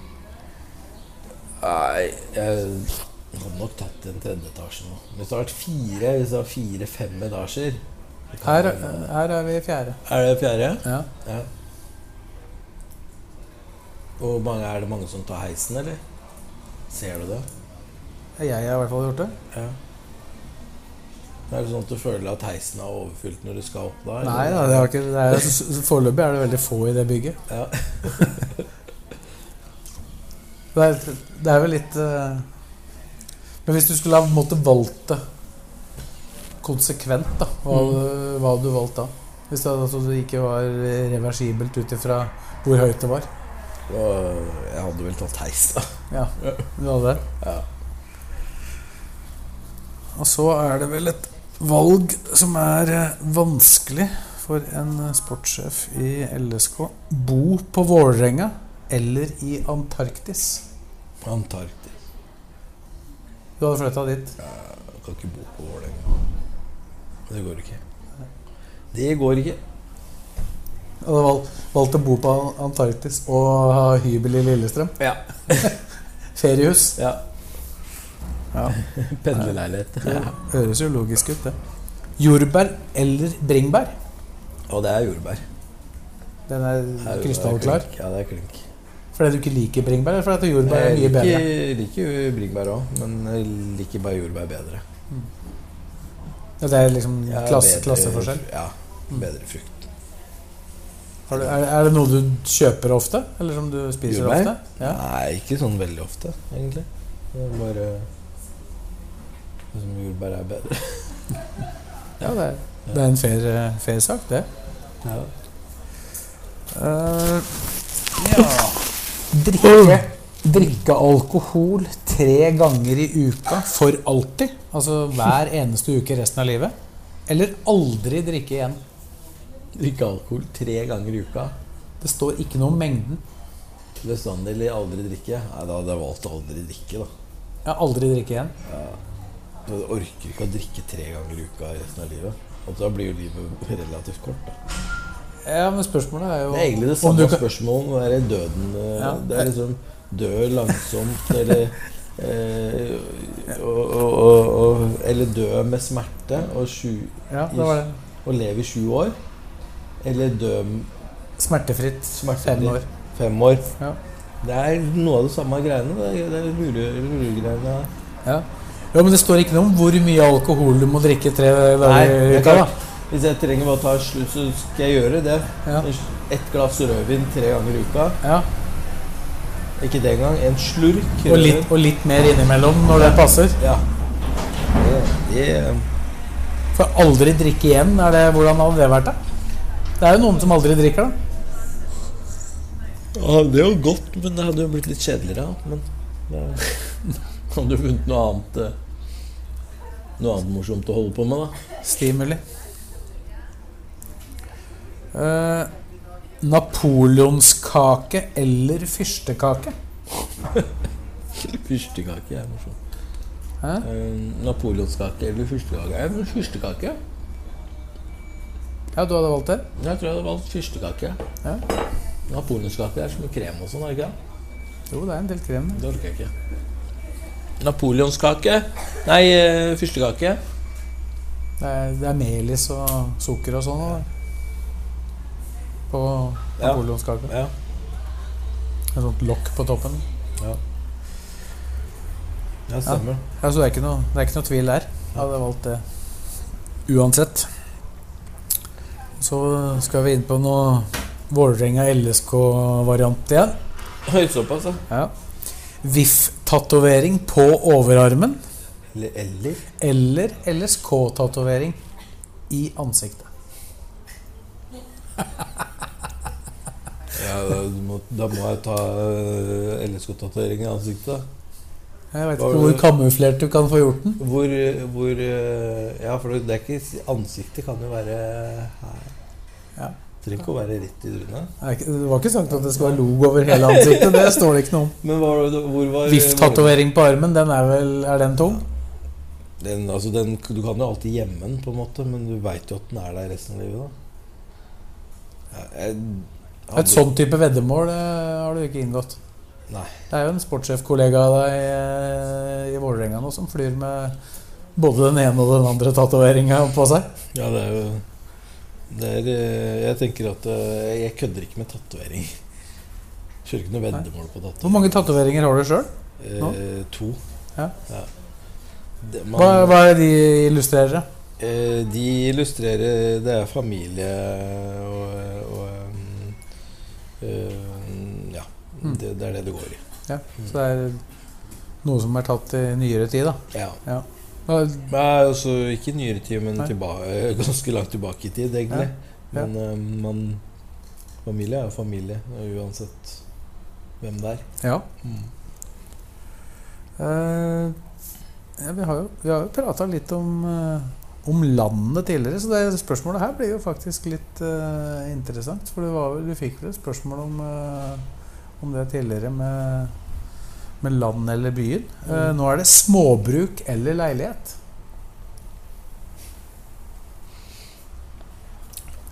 Nei, jeg hadde nok tatt en tredje etasje nå. Hvis det hadde vært fire, hvis det var fire-fem etasjer det kan Her, eh, hende. her er vi i fjerde. Er det fjerde? Ja. Ja. Og mange, er det mange som tar heisen, eller? Ser du det? Jeg har i hvert fall gjort det. Ja. Er det sånn at du føler at heisen er overfylt når du skal opp da? Nei da, eller? det har ikke, det er, s- s- foreløpig er det veldig få i det bygget. Ja. Det er, det er vel litt eh, Men hvis du skulle ha på en måte valgt det konsekvent, da, hva, hadde- hva hadde du valgt da? Hvis det, altså, det ikke var reversibelt ut ifra hvor høyt det var? Og jeg hadde vel tatt heis, da. Ja, du hadde det? Ja. Og så er det vel et valg som er eh, vanskelig for en eh, sportssjef i LSK. Bo på Vålerenga eller i Antarktis? Antarktis. Du hadde flytta dit. Jeg kan ikke bo på Vålerenga. Det går ikke. Det går ikke. Du hadde valgt, valgt å bo på Antarktis og ha hybel i Lillestrøm. Ja. Feriehus. ja. Ja. Pendlerleilighet. Høres jo logisk ut, det. Jordbær eller bringebær? Og det er jordbær. Den er Det er- krystallklar. Ja, det er klink. Fordi du ikke liker bringebær, eller fordi at jordbær er Jeg mye bedre? liker, liker jo bringebær òg, men jeg liker bare jordbær bedre. Ja, Det er liksom Jeg er klasse, bedre- klasseforskjell. Mm. Ja. Bedre frukt. Har du, er, er det noe du kjøper ofte? Eller som du spiser Jordbær? ofte? Ja. Nei, ikke sånn veldig ofte, egentlig. Det er bare liksom, Jordbær er bedre. ja, det er, det er en fair, eh, fair sak, det. Eh, Mm. drikke, drikke alkohol tre ganger i uka for alltid? Altså hver eneste uke resten av livet? Eller aldri drikke igjen? Drikke alkohol tre ganger i uka. Det står ikke noe om mengden. Bestandig eller aldri drikke. Nei, da hadde jeg valgt å aldri drikke, da. Ja, aldri drikke igjen. Du orker ikke å drikke tre ganger i uka resten av livet. Og da blir jo livet relativt kort. Da. Ja, men spørsmålet er jo Det er egentlig det om du samme kan- spørsmålet om å være i døden. eh, Ja. Det er liksom dø langsomt, eller eh, og, og, og, og, Eller dø med smerte og, sju, Ja, det var det. og leve i sju år. Eller dø m- Smertefritt. smertefritt. Fem år. Fem år. Ja. Det er noe av det samme greiene. Det er, det er lure- luregreiene. Ja. Jo, men det står ikke noe om hvor mye alkohol du må drikke tre dager i det er uka. klart. da Hvis jeg trenger bare å ta slutt, så skal jeg gjøre det. Ja. Ett glass rødvin tre ganger i uka. ja. Ikke det engang. En slurk. og, litt, og litt mer innimellom når det passer. Ja. Det, det, For aldri drikke igjen, er det, hvordan hadde det vært? da? Det er jo noen som aldri drikker, da. ja, det er jo godt, men det hadde jo blitt litt kjedeligere. da. Men det, hadde du funnet noe annet eh, Noe annet morsomt å holde på med, da? Stimuli. Eh, Napoleonskake eller fyrstekake? Fyrstekake er morsomt. Hæ? Eh, Napoleonskake eller fyrstekake? Jeg tror fyrstekake. Ja, du hadde valgt det? Jeg tror jeg hadde valgt fyrstekake. Ja. Napoleonskake er som med krem og sånn, er det ikke? det? Jo, det er en del krem. Det orker jeg ikke. Napoleonskake. Nei, eh, fyrstekake. Det er, det er melis og sukker og sånn. da. På Ja. napoleonskake. Ja. Et sånt lokk på toppen. Ja, stemmer. Ja, så det er ikke noe, det er ikke noe tvil der. Jeg hadde valgt det uansett. Så skal vi inn på noe Vålerenga-LSK-variant igjen. Høy såpass, da. Ja. VIF-tatovering på overarmen Eller, eller eller LSK-tatovering i ansiktet. ja, da, må, da må jeg ta eh, LSK-tatovering i ansiktet. da. Jeg vet Var ikke hvor det- kamuflert du kan få gjort den. Hvor, eh, hvor eh, Ja, for det er ikke Ansiktet kan jo være her. Ja. nytter ikke å være rett i trynet. Er ikke- Det var ikke sagt at det skal være logo over hele ansiktet. Det står det ikke noe om. Men hva, hvor var VIF-tatovering på armen, den er vel Er den tung? Den, altså den, du kan jo alltid gjemme den, på en måte, men du veit jo at den er der resten av livet. da. Ja, jeg, Et sånn type veddemål eh, har du ikke inngått. Nei. Det er jo en sportssjefkollega av deg eh, i Vålerenga nå som flyr med både den ene og den andre tatoveringa på seg. Ja, det er jo det er, eh, Jeg tenker at eh, jeg kødder ikke med tatovering. Kjører ikke noe veddemål på Hvor tatovering. mange tatoveringer har du sjøl? Eh, to. Ja. Det, man, Hva, hva er de illustrerer? Eh, de illustrerer Det er familie og, og um, eh, Ja. Mm. Det, det er det det går i. Ja. Så det er noe som er tatt i nyere tid, da. Ja. Ja, Nei, altså ikke i nyere tid, men Nei. tilba- eh, ganske langt tilbake i tid, egentlig. Ja, ja. Men eh, man, familie er jo familie, uansett hvem det er. Mm. Ja. Eh, ja vi har jo, vi har jo prata litt om, eh, om landet tidligere, så det spørsmålet her blir jo faktisk litt eh, interessant. For du, var, vel- du fikk vel et spørsmål om, eh, om det tidligere med, med land eller byen. Mm. Eh, nå er det småbruk eller leilighet.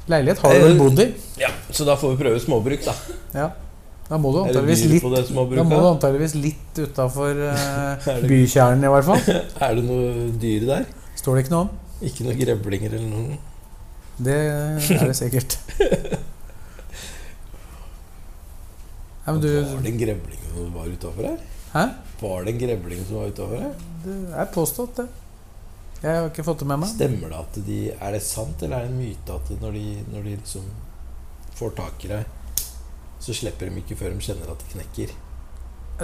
Leilighet har du vel Eh, bodd i? Ja, Så da får vi prøve småbruk, da. Ja. Da må du Er det antageligvis dyr litt på det da må småbruket? du antageligvis litt utafor uh, Er det- bykjernen, i hvert fall. Er det noe dyr der? Står det ikke noe om? Ikke noe grevlinger eller noe? Det er det sikkert. Nei, men du, Var det en grevling som var utafor her? Hæ? Var det en grevling som var utafor her? det er påstått, det. Jeg har ikke fått det med meg. Stemmer det at de Er det sant, eller er det en myte at når de, når de liksom får tak i deg, så slipper de ikke før de kjenner at det knekker?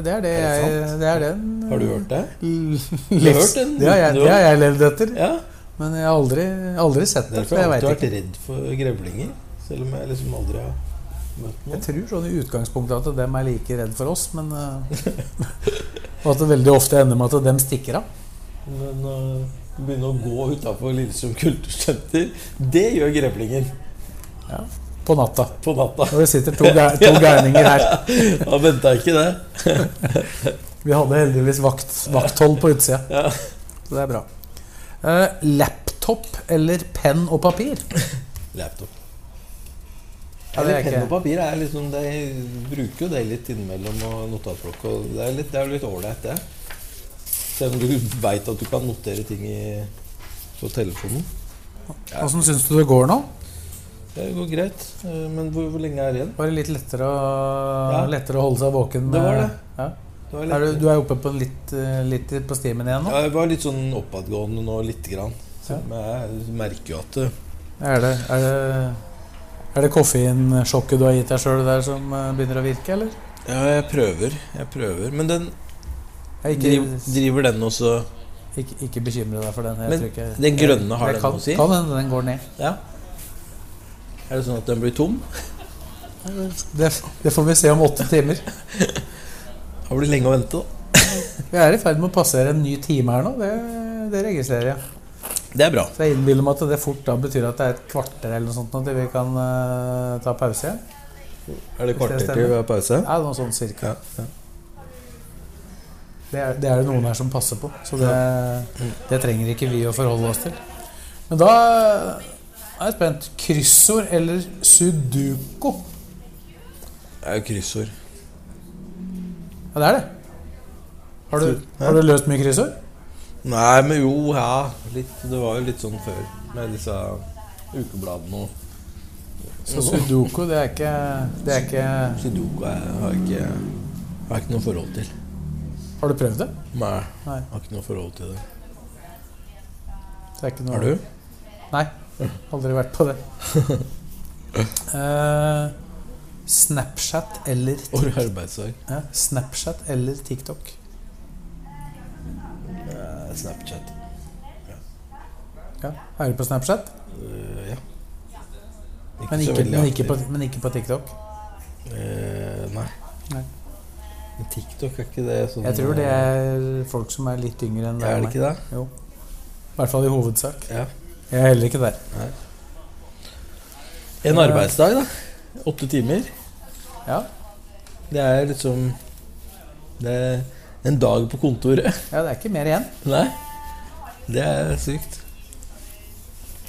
Det er Er det det jeg sant? Det er den Har du hørt Mm. det? Du har hørt den? Det har jeg, Du det har har- jeg levd etter. Ja. Men jeg har aldri, aldri sett det. Derfor For jeg har jeg vet alltid ikke. vært redd for grevlinger. Selv om jeg liksom aldri har møtt Jeg noen. tror sånn i utgangspunktet at dem er like redd for oss, men eh, Og at det veldig ofte ender med at dem stikker av. Men å begynne å gå utafor Lillestrøm kultursenter, det gjør grevlingen På natta. på natta. Og det sitter to, gær- to gærninger her. Han venta ikke det. Vi hadde heldigvis vakt, vakthold på utsida. Ja. Så det er bra. Eh, laptop eller penn og papir? Laptop. Ja, det er Eller penn ikke- og papir er liksom De bruker jo det litt innimellom og notatblokk. Og det er litt- det er jo litt ålreit, det. Selv om du veit at du kan notere ting i, på telefonen. Åssen syns du det går nå? Det går greit. eh, Men hvor, hvor lenge er det igjen? Var det litt lettere å, Ja. lettere å holde seg våken? Det var eh, det. Ja. Det var Er du, litt- du er oppe på en litt, eh, litt på stimen igjen nå? Ja, Jeg var litt sånn oppadgående nå, lite grann. Så jeg merker jo at det- Er det, er det, er det koffeinsjokket du har gitt deg sjøl der som eh, begynner å virke, eller? Ja, jeg prøver. Jeg prøver. Men den Jeg er driv, ikke, driver den også ikke, ikke bekymre deg for den. Jeg Men tror ikke, den grønne har Det den kan- noe å si? Kan hende den går ned. Ja. Er det sånn at den blir tom? Det, det får vi se om åtte timer. Det blir lenge å vente, da. Vi er i ferd med å passere en ny time her nå. Det, det registrerer jeg. Det er bra. Så jeg innbiller meg at det fort da betyr at det er et kvarter eller noe sånt nå til vi kan eh, ta pause igjen. Er det kvarter kvarter til til vi pause? Ja, noe sånt cirka. Ja, ja. Det er det er det noen her som passer på, så det, Mm. det trenger ikke vi å forholde oss til. Men da eh, er jeg spent. Kryssord eller sudoku? Det er jo kryssord. Ja, det er det. Har du, har du løst mye kryssord? Nei, men jo, ja. Litt, det var jo litt sånn før med disse ukebladene og Så sudoku, det er ikke, det er ikke Sudoku har jeg har ikke, har jeg ikke noe forhold til. Har du prøvd det? Nei, Nei. jeg har ikke noe forhold til det. Det er ikke noe Har du? Nei, aldri vært på det. Eh, Snapchat eller År i arbeidsdag. ja, Snapchat eller TikTok? Eh, Snapchat. Ja. Er du på Snapchat? Eh, ja. Men så ikke, veldig men ikke, på, aktiv. men ikke på TikTok? Eh, nei. Nei. Men TikTok er ikke det sånn Jeg tror det er folk som er litt yngre enn Er det ikke det? Jo. I hvert fall i hovedsak. Ja. Jeg er heller ikke der. Nei. En arbeidsdag, da. Åtte timer. Ja. Det er liksom Det er en dag på kontoret. Ja, det er ikke mer igjen. Nei. Det er sykt.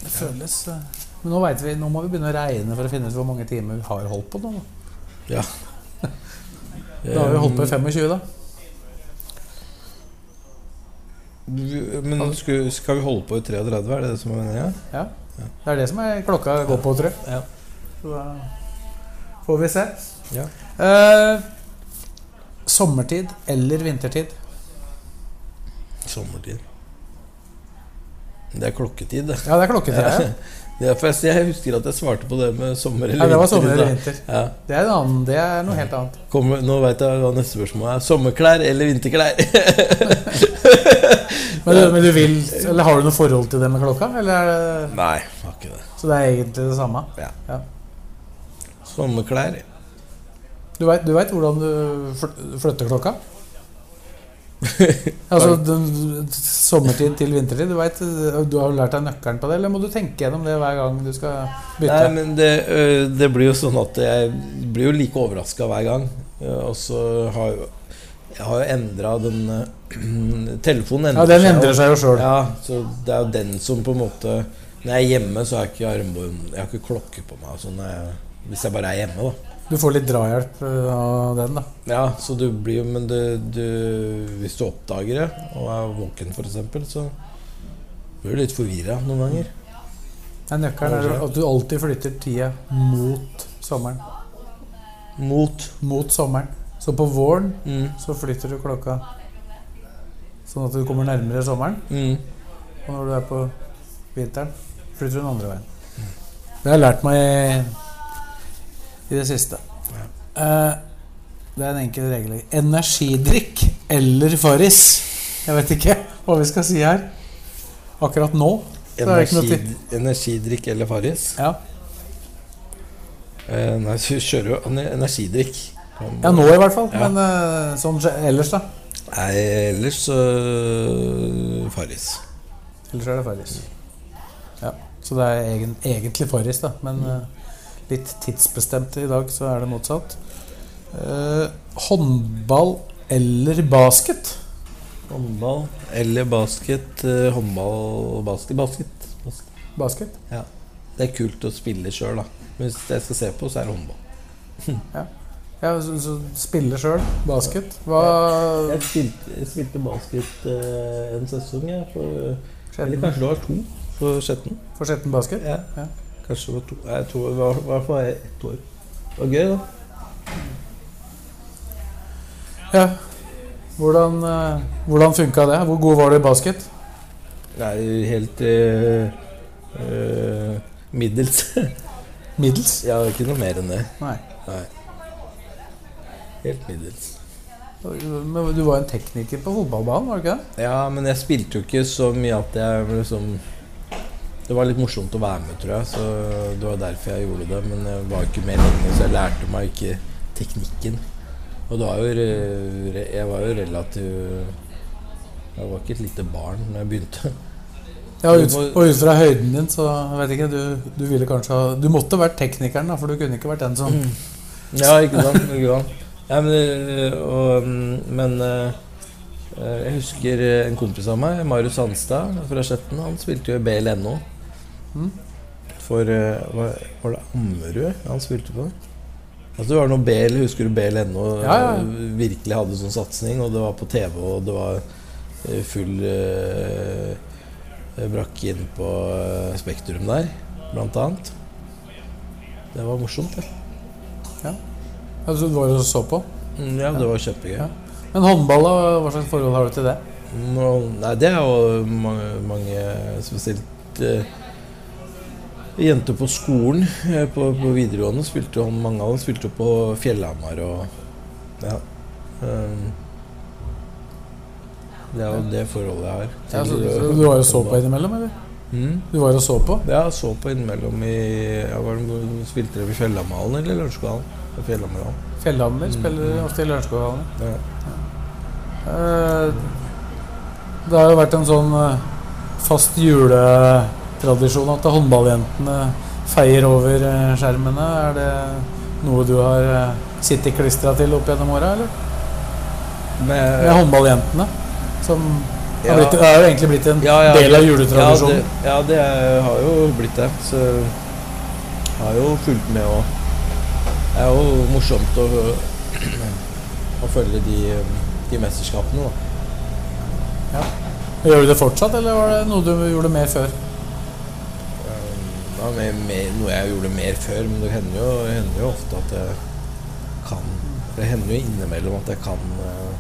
Det føles eh, Men nå, vet vi, nå må vi begynne å regne for å finne ut hvor mange timer vi har holdt på nå. da. Ja. Da har vi holdt på i 25, da. Um, Men skal, skal vi holde på i 33, er det det som er meningen? Ja. Det er det som er klokka går på, tror jeg. Ja. Så da får vi se. Ja. Eh, sommertid eller vintertid? Sommertid. Det er klokketid, det. Ja, det er klokketid. Ja. Det er forresten- Jeg husker at jeg svarte på det med sommer eller Ja, det vinter var i sommer eller stad. vinter. Ja. Det er, en annen, det er noe helt annet. Kommer, nå veit jeg hva neste spørsmål er. Sommerklær eller vinterklær? Men du, men du vil, eller Har du noe forhold til det med klokka? Eller er det, Nei, har ikke det. så det er egentlig det samme? Ja. Sommerklær. Du veit du vet hvordan du fl- flytter klokka? Altså den, sommertid til vintertid. Du, vet, du har jo lært deg nøkkelen på det, eller må du tenke gjennom det hver gang du skal bytte? Nei, men det, ø, det blir jo sånn at jeg blir jo like overraska hver gang. Ø, Og så har jo Jeg har jo endra den ø, Telefonen endrer ja, Den seg jo. endrer seg jo sjøl. Ja, så det er jo den som på en måte Når jeg er hjemme, så har jeg ikke armbånd Jeg har ikke klokke på meg. og Sånn, jeg, hvis jeg bare er hjemme, da. Du får litt drahjelp eh, av den, da. Ja, så du blir jo Men du, du, hvis du oppdager det og er våken, f.eks., så blir du litt forvirra noen ganger. Nei, nøkkelen er at du alltid flytter tida mot sommeren. Mot. Mot sommeren. Så på våren Mm, så flytter du klokka sånn at du kommer nærmere sommeren. mm. Og når du er på vinteren, flytter du den andre veien. Det har jeg lært meg i, i det siste. Eh, det er en enkel regel. Energidrikk eller Farris? Jeg vet ikke hva vi skal si her. Akkurat nå. Så er det ikke noe Energi, til. energidrikk eller Farris? Ja. Eh, nei, så kjører jo ener- energidrikk. ja, nå i hvert fall. Ja. Men eh, sånn ge- ellers, da. Nei, ellers så Farris. Ellers er det Farris. Ja. Så det er egen, egentlig Farris, da. Men eh, litt tidsbestemt i dag, så er det motsatt. Eh, håndball eller basket? Håndball eller basket. eh, Håndball, basket, basket. basket. Basket? Det er kult å spille sjøl, da. Men hvis jeg skal se på, så er det håndball. Ja, så, så spille sjøl. Basket. Hva Jeg spilte, jeg spilte basket eh, en sesong, jeg. For, eller Skjetten, kanskje det var to for Skjetten. for Skjetten basket? Ja. Ja. Kanskje det var to Nei, to, det var i hvert fall ett år. Det var gøy, da. Ja. Hvordan, eh, hvordan funka det? Hvor god var du i basket? Det er helt eh, eh, middels. Middels? ja, ikke noe mer enn det. Nei. Helt middels. Men du var en tekniker på fotballbanen, var du ikke det? Ja, men jeg spilte jo ikke så mye at jeg ble liksom Det var litt morsomt å være med, tror jeg. Så det var derfor jeg gjorde det. Men jeg var ikke med lenge, så jeg lærte meg ikke teknikken. Og det var jo re- re- Jeg var jo relativ Jeg var ikke et lite barn når jeg begynte. Ja, Du ut, må- og ut fra høyden din, så jeg vet ikke Du, du ville kanskje ha Du måtte vært teknikeren, da, for du kunne ikke vært den som Mm. Ja, ikke sant? Ikke sant? Ja, men, øh, og, mm, men øh, øh, jeg husker øh, en kompis av meg, Marius Hanstad fra Skjetten. Han spilte jo i BLNO. Mm. For øh, hva, Var det Ammerud han spilte på? Altså, det var noe BL, Husker du BLNO Ja, ja, ja. øh, virkelig hadde sånn satsing? Og det var på TV, og det var øh, full øh, brakke inn på øh, Spektrum der, blant annet. Det var morsomt, det. altså, du var og så på. Mm, Ja, det var kjempegøy. Ja. Men håndball, da, hva slags forhold har du til det? Nå- nei, det er jo mange, mange spesielt eh, jenter på skolen eh, på, på videregående. Spilte, jo- mange av dem spilte jo på Fjellhamar og ja. Um, det er jo det forholdet jeg har. Ja, så, til, så, eh, du var og så på håndball. innimellom, eller? Mm. Du var og så på? Ja, jeg så på innimellom i ja, var det, hvor- Spilte dere på Fjellhamalen eller Lørenskoghallen? På Fjellhammerhallen. Fjellhammer spiller ofte i Lørenskoghallen. Ja. Eh, Det har jo vært en sånn eh, fast juletradisjon at håndballjentene feier over eh, skjermene. Er det noe du har eh, sittet klistra til opp gjennom åra, eller? Med, Med håndballjentene. Som Ja. har blitt, det er jo egentlig blitt en Ja, ja. del av Ja, juletradisjonen. det, ja, det er- har jo blitt det. Så jeg har jo fulgt med og Det er jo morsomt å, å følge de, de mesterskapene, da. Gjør du det fortsatt, eller var det noe du gjorde mer før? Det var mer, mer, noe jeg gjorde mer før, men det hender jo, hender jo ofte at jeg kan Det hender jo innimellom at jeg kan eh,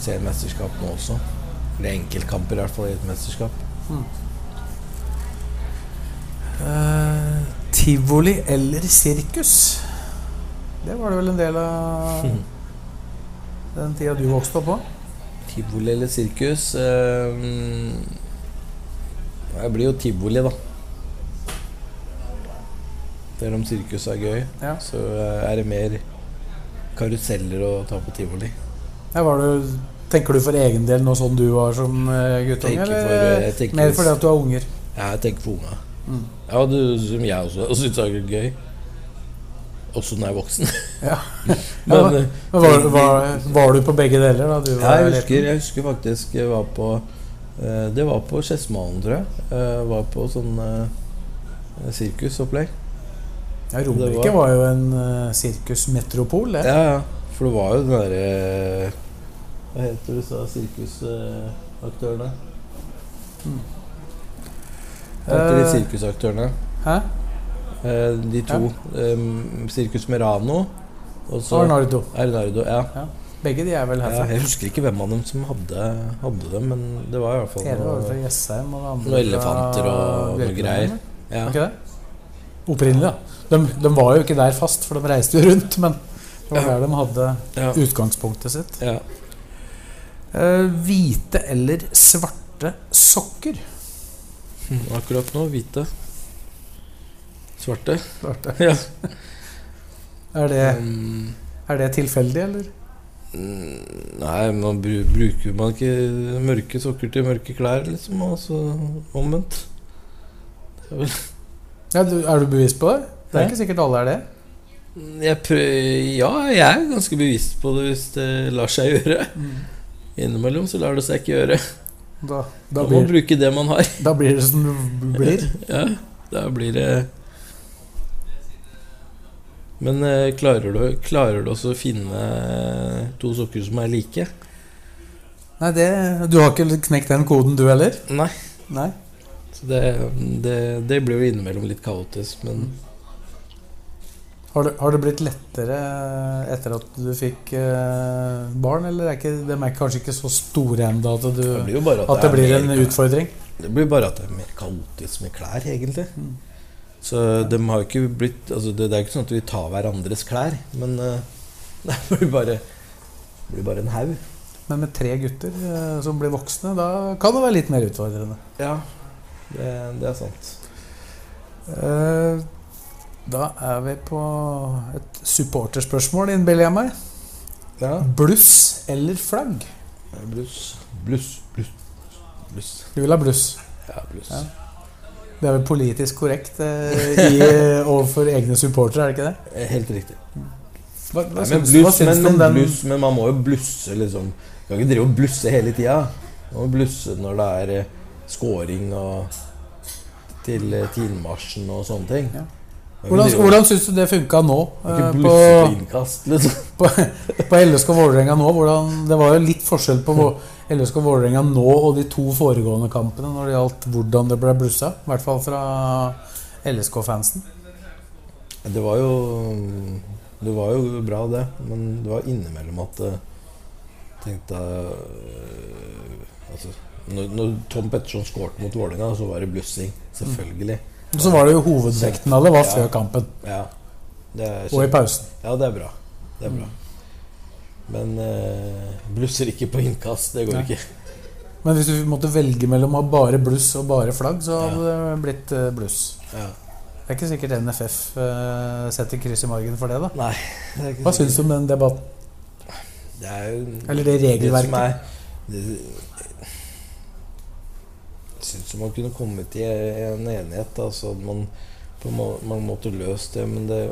se mesterskapene også. Eller enkeltkamper, i hvert fall, i et mesterskap. Eh, tivoli eller sirkus? Det var det vel en del av den tida du vokste opp på? Tivoli eller sirkus? Eh, jeg blir jo tivoli, da. Selv om sirkus er gøy, Ja. så eh, er det mer karuseller å ta på tivoli. Ja, var du, tenker du for egen del nå sånn du var som eh, guttunge, Tenker eller for, eh, eh, jeg tenker- mer fordi at du har unger? Ja, Jeg tenker på unga. Mm. Ja, du, som jeg også syns er gøy. Også når jeg er voksen. Ja. Men, eh, Men var, var, var du på begge deler da du Ja, var jeg husker, liten? jeg husker faktisk jeg var på eh, Det var på Skedsmalen, tror jeg. Eh, var på sånn eh, sirkusopplegg. Ja, Romerike Det var jo en eh, sirkusmetropol, det. Ja, ja. For det var jo den derre eh, Hva heter det du sa? Sirkusaktørene? Hva heter de Eh, sirkusaktørene? Hæ? Eh, de to. em, Sirkus Merano og så Arnardo. Arnardo. Ja. Begge de er vel ja. herfra. Jeg husker ikke hvem av dem som hadde, hadde dem, men det var i hvert fall Hele var vel fra noe- Jessheim og det andre sånn, noen elefanter fra og noe Bjørkelangen, greier. eller? Ja. Var Ikke det? Opprinnelig, da. De, de var jo ikke der fast, for de reiste jo rundt, men det var der de hadde Ja. utgangspunktet sitt. Ja. Eh, hvite eller svarte sokker? Mm, Akkurat nå hvite. Svarte. Svarte. Ja. Er det, Mm, er det tilfeldig, eller? nei, man bru- bruker man ikke mørke sokker til mørke klær, liksom? Altså omvendt. Ja, du, er du bevisst på det? Det er Hæ? ikke sikkert alle er det. Mm, Jeg prø- ja, jeg er ganske bevisst på det hvis det lar seg gjøre. Innimellom så lar det seg ikke gjøre. Da Da, da, må man blir, bruke det man har. da blir det som det blir. Ja, da blir det Men eh, klarer du, klarer du også å finne to sokker som er like? Nei, det, Du har ikke knekt den koden, du heller? Nei. Nei. Så det, det, det blir jo innimellom litt kaotisk, men Har det, har det blitt lettere eh, etter at du fikk eh, barn, eller er ikke, de er kanskje ikke så store ennå at, du, det blir jo bare at, at det blir er en mer, utfordring? Det blir bare at det er mer kaotisk med klær, egentlig. Så de har jo ikke blitt altså det, det er ikke sånn at vi tar hverandres klær, men eh, det blir bare, det blir bare en haug. Men med tre gutter eh, som blir voksne, da kan det være litt mer utfordrende. Ja, det, det er sant. Eh, Da er vi på et supporterspørsmål, innbiller jeg meg. Ja. Bluss eller flagg? Bluss. Bluss. Bluss. Bluss. Du vil ha bluss. Ja, bluss. Ja. Det er vel politisk korrekt eh, i, overfor egne supportere, er det ikke det? Eh, Helt riktig. Hva, hva Nei, men syns, hva bluss, syns men, du om men, den? bluss, men man må jo blusse, liksom. Du kan ikke drive og blusse hele tida. Man må blusse når det er eh, scoring og til eh, tidmarsjen og sånne ting. Ja. Du kan Hvordan, ikke drive og- hvordan syns du det funka nå? du kan eh, ikke På, blusse på innkast, liksom. på, på LSK Vålerenga nå? Hvordan, det var jo litt forskjell på hvor- LSK Vålerenga nå og de to foregående kampene når det gjaldt hvordan det ble blussa. I hvert fall fra LSK-fansen. Det var jo mm, Det var jo bra, det. Men det var innimellom at jeg tenkte eh, Altså når, når Tom Petterson skårte mot Vålerenga, så var det blussing. Selvfølgelig. Og Så var det jo hovedvekten av det var før kampen Ja. Det er og i pausen. Ja, det er bra. Det er bra. Men eh, blusser ikke på innkast. Det går Mm. Nei. ikke. Men hvis du måtte velge mellom å ha bare bluss og bare flagg, så hadde det blitt eh, bluss. Ja. Det er ikke sikkert NFF eh, setter kryss i margen for det, da. Nei. Det er, ikke Hva sikkert. syns du om den debatten? det er jo Eller det regelverket? som er- det- Jeg syns man kunne kommet til en enighet. Altså at man på må- mange måter løst det, men det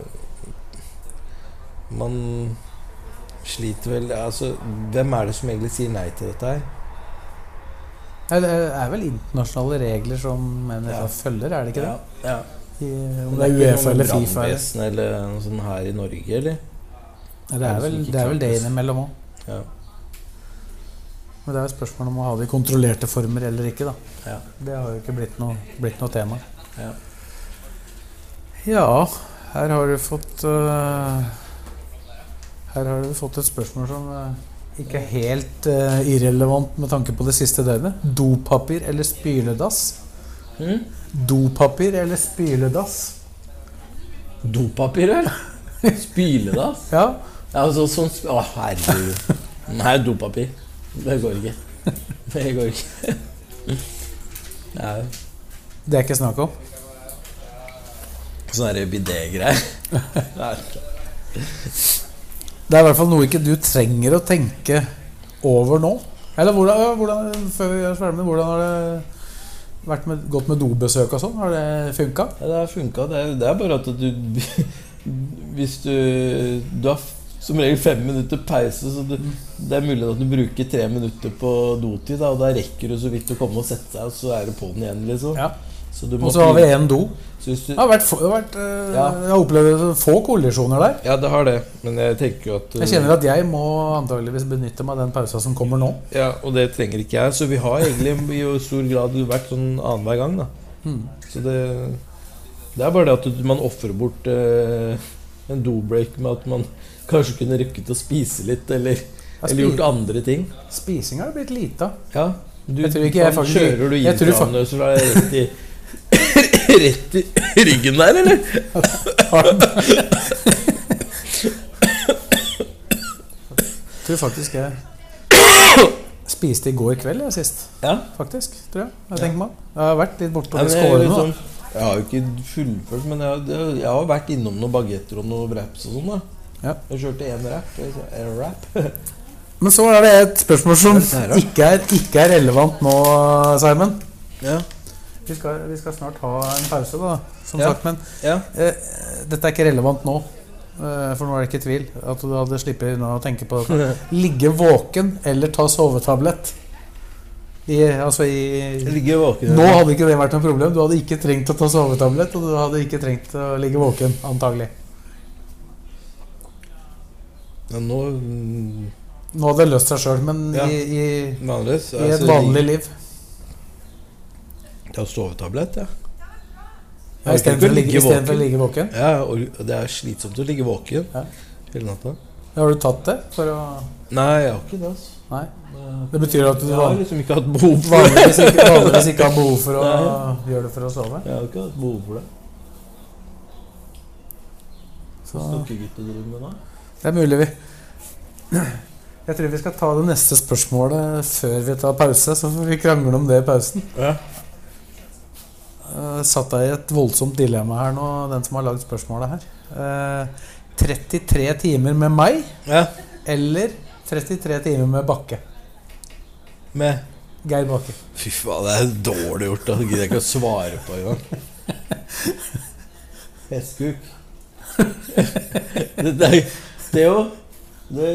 Man sliter vel Altså, hvem er det som egentlig sier nei til dette her? Nei, Det er vel internasjonale regler som NFF Ja. følger, er det ikke det? Ja, ja. I, om det er Uefa eller Fifa. eller- Brannvesen eller noe sånt her i Norge, eller? Nei, Det er vel det, altså. er vel det innimellom òg. Ja. Men det er jo spørsmål om å ha det i kontrollerte former eller ikke. da. Ja. Det har jo ikke blitt noe, blitt noe tema. Ja. ja, her har du fått øh, Her har du fått et spørsmål som øh, ikke er helt øh, irrelevant med tanke på det siste døgnet. Dopapir eller spyledass? Mm? Dopapir eller spyledass? Dopapir, eller? Spyledass? Ja, Altså, sånn sp- Å, herregud. Nei, dopapir. Det går ikke. Det går ikke. Nei. Det er ikke snakk om. Sånne sånn her bidé-greier. Nei. Det er i hvert fall noe ikke du trenger å tenke over nå. Eller hvordan, ja, hvordan før vi er ferdig med det, hvordan har det vært med, gått med dobesøk og sånn? Har det funka? Ja, det har funka. Det, er- det er bare at du Hvis du Du har f- som regel fem minutter pause, så du, det er mulig at du bruker tre minutter på dotid. Da, og da rekker du så vidt å komme og sette deg, og så er du på'n igjen, liksom. Ja. Så du må Og så har vi priori- én do. så hvis du, Det har vært, få- det har vært, eh, Ja. Jeg har opplevd få kollisjoner der. ja, det har det, men jeg tenker jo at Jeg kjenner at jeg må antageligvis benytte meg av den pausa som kommer nå. Ja, og det trenger ikke jeg. Så vi har egentlig i jo stor grad vært sånn annenhver gang, da. Hmm. Så det Det er bare det at du- man ofrer bort eh, en do-break med at man kanskje kunne rukket å spise litt, eller, eller gjort andre ting. Spising har det blitt lite av. Ja. Du, Jeg tror ikke jeg faen, faktisk- Kjører du jeg tror fa- intravenøs fra rett i Rett i ryggen der, eller? Jeg tror faktisk jeg spiste i går kveld jeg, sist. Ja. Faktisk, tror jeg. Jeg tenker meg. om. Jeg har vært litt borte på Ja, de men jeg, er skårene. jo da. sånn- jeg har jo ikke fullført, men jeg, har- jeg, jeg har vært innom noen bagetter og noen wraps og sånn. da Ja. Jeg kjørte én wrap. jeg kjørte En wrap. Men så er det et spørsmål som Hva er det her, da? ikke er, ikke er relevant nå, Simon. Ja. Vi skal, vi skal snart ha en pause, da, som Ja. sagt. Men Ja. eh, dette er ikke relevant nå. Eh, for nå er det ikke tvil at du hadde sluppet unna å tenke på dette. Ligge våken eller ta sovetablett. I, altså i Jeg ligger våken. Nå hadde ikke det vært noe problem. Du hadde ikke trengt å ta sovetablett, og du hadde ikke trengt å ligge våken, antagelig. ja, nå mm, Nå hadde det løst seg sjøl, men Ja. i, i, Vanligvis. altså, i et vanlig liv. Jeg har sovetablett, ja. Ja, Jeg orker ikke Istedenfor å ligge, i stedet for å våken. ligge våken. Ja, og Det er slitsomt å ligge våken Ja. hele natta. Har du tatt det? For å Nei, jeg har ikke det. altså. Nei. Det betyr at du Jeg har van- liksom ikke hatt behov for det. vanligvis ikke, vanligvis ikke har behov for å gjøre det for å sove? Jeg har ikke hatt behov for det. Så Stokkegutter driver med det. det er mulig, vi. Jeg tror vi skal ta det neste spørsmålet før vi tar pause, så får vi krangle om det i pausen. Ja. Eh, satt deg i et voldsomt dilemma her nå, den som har lagd spørsmålet her. Eh, 33 timer med meg ja. eller 33 timer med Bakke? Med Geir Bakke. Fy faen, det er dårlig gjort. da. Det gidder jeg ikke å svare på engang. Festkuk. det, det, er- det er jo det,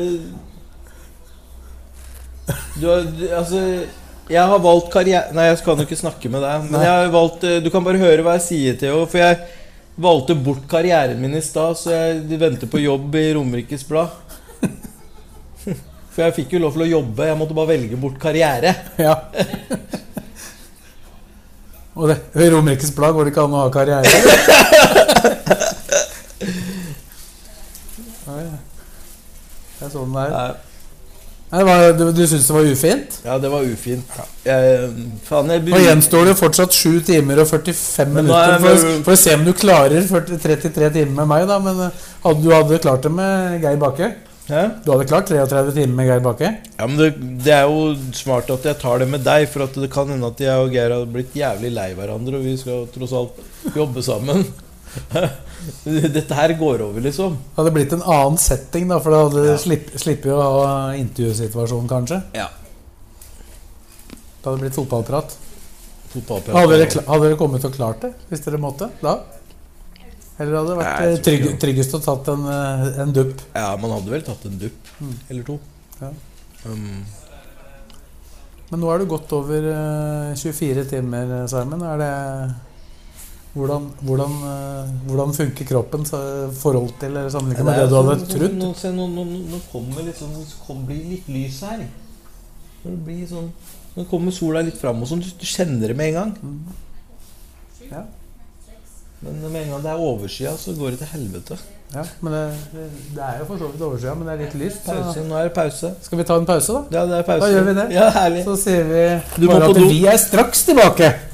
Du har du, Altså Jeg har valgt karriere... Nei, jeg kan jo ikke snakke med deg. Men Nei. jeg har valgt eh, Du kan bare høre hva jeg sier, Theo. For jeg valgte bort karrieren min i stad, så jeg venter på jobb i Romerikes Blad. For jeg fikk jo lov til å jobbe. Jeg måtte bare velge bort karriere. Ja. Og det, i Romerikes Blad går det ikke an å ha karriere. Oi. Det er sånn det er. Nei. Nei, hva- Du, du syns det var ufint? Ja, det var ufint. Jeg, faen, jeg Nå gjenstår det fortsatt 7 timer og 45 Men nå er minutter for, å- jeg- for å se om du klarer 40, 33 timer med meg, da. Men eh, hadde, du hadde klart det med Geir Bakke? Hæ? Du hadde klart 33 timer med Geir Bakke? Ja, men det, det er jo smart at jeg tar det med deg, for at det kan hende at jeg og Geir har blitt jævlig lei hverandre, og vi skal tross alt jobbe sammen. Dette her går over, liksom. Det hadde blitt en annen setting, da, for da hadde du slipp, slippet å ha intervjusituasjon, kanskje. Ja. Det hadde blitt fotballprat. Fotballprat. Hadde dere, kla- hadde dere kommet og klart det hvis dere måtte? Da? Eller hadde det vært Nei, eh, jeg tror trygg, ikke tryggest å tatt en, eh, en dupp. Ja, man hadde vel tatt en dupp eller to. Ja. Um, Men nå er du godt over eh, 24 timer, eh, Simon. Er det hvordan, hvordan, eh, hvordan funker kroppen i forhold til eller sammenlignet med det du hadde trodd? Nå, altså se, nå, nå, nå kommer litt sånn, det kom- blir litt lys her. Når det blir sånn Nå kommer sola litt fram, og sånn, du- du kjenner det med en gang. Ja. Men med en gang det er overskya, så går det til helvete. Ja, men det, det- det er jo for så vidt overskya, men det er litt lyst. Pause. Så. Nå er det pause. Skal vi ta en pause, da? Ja, det er pause. Da gjør vi det. Ja, herlig. Så sier vi Du må bare på at do. vi er straks tilbake.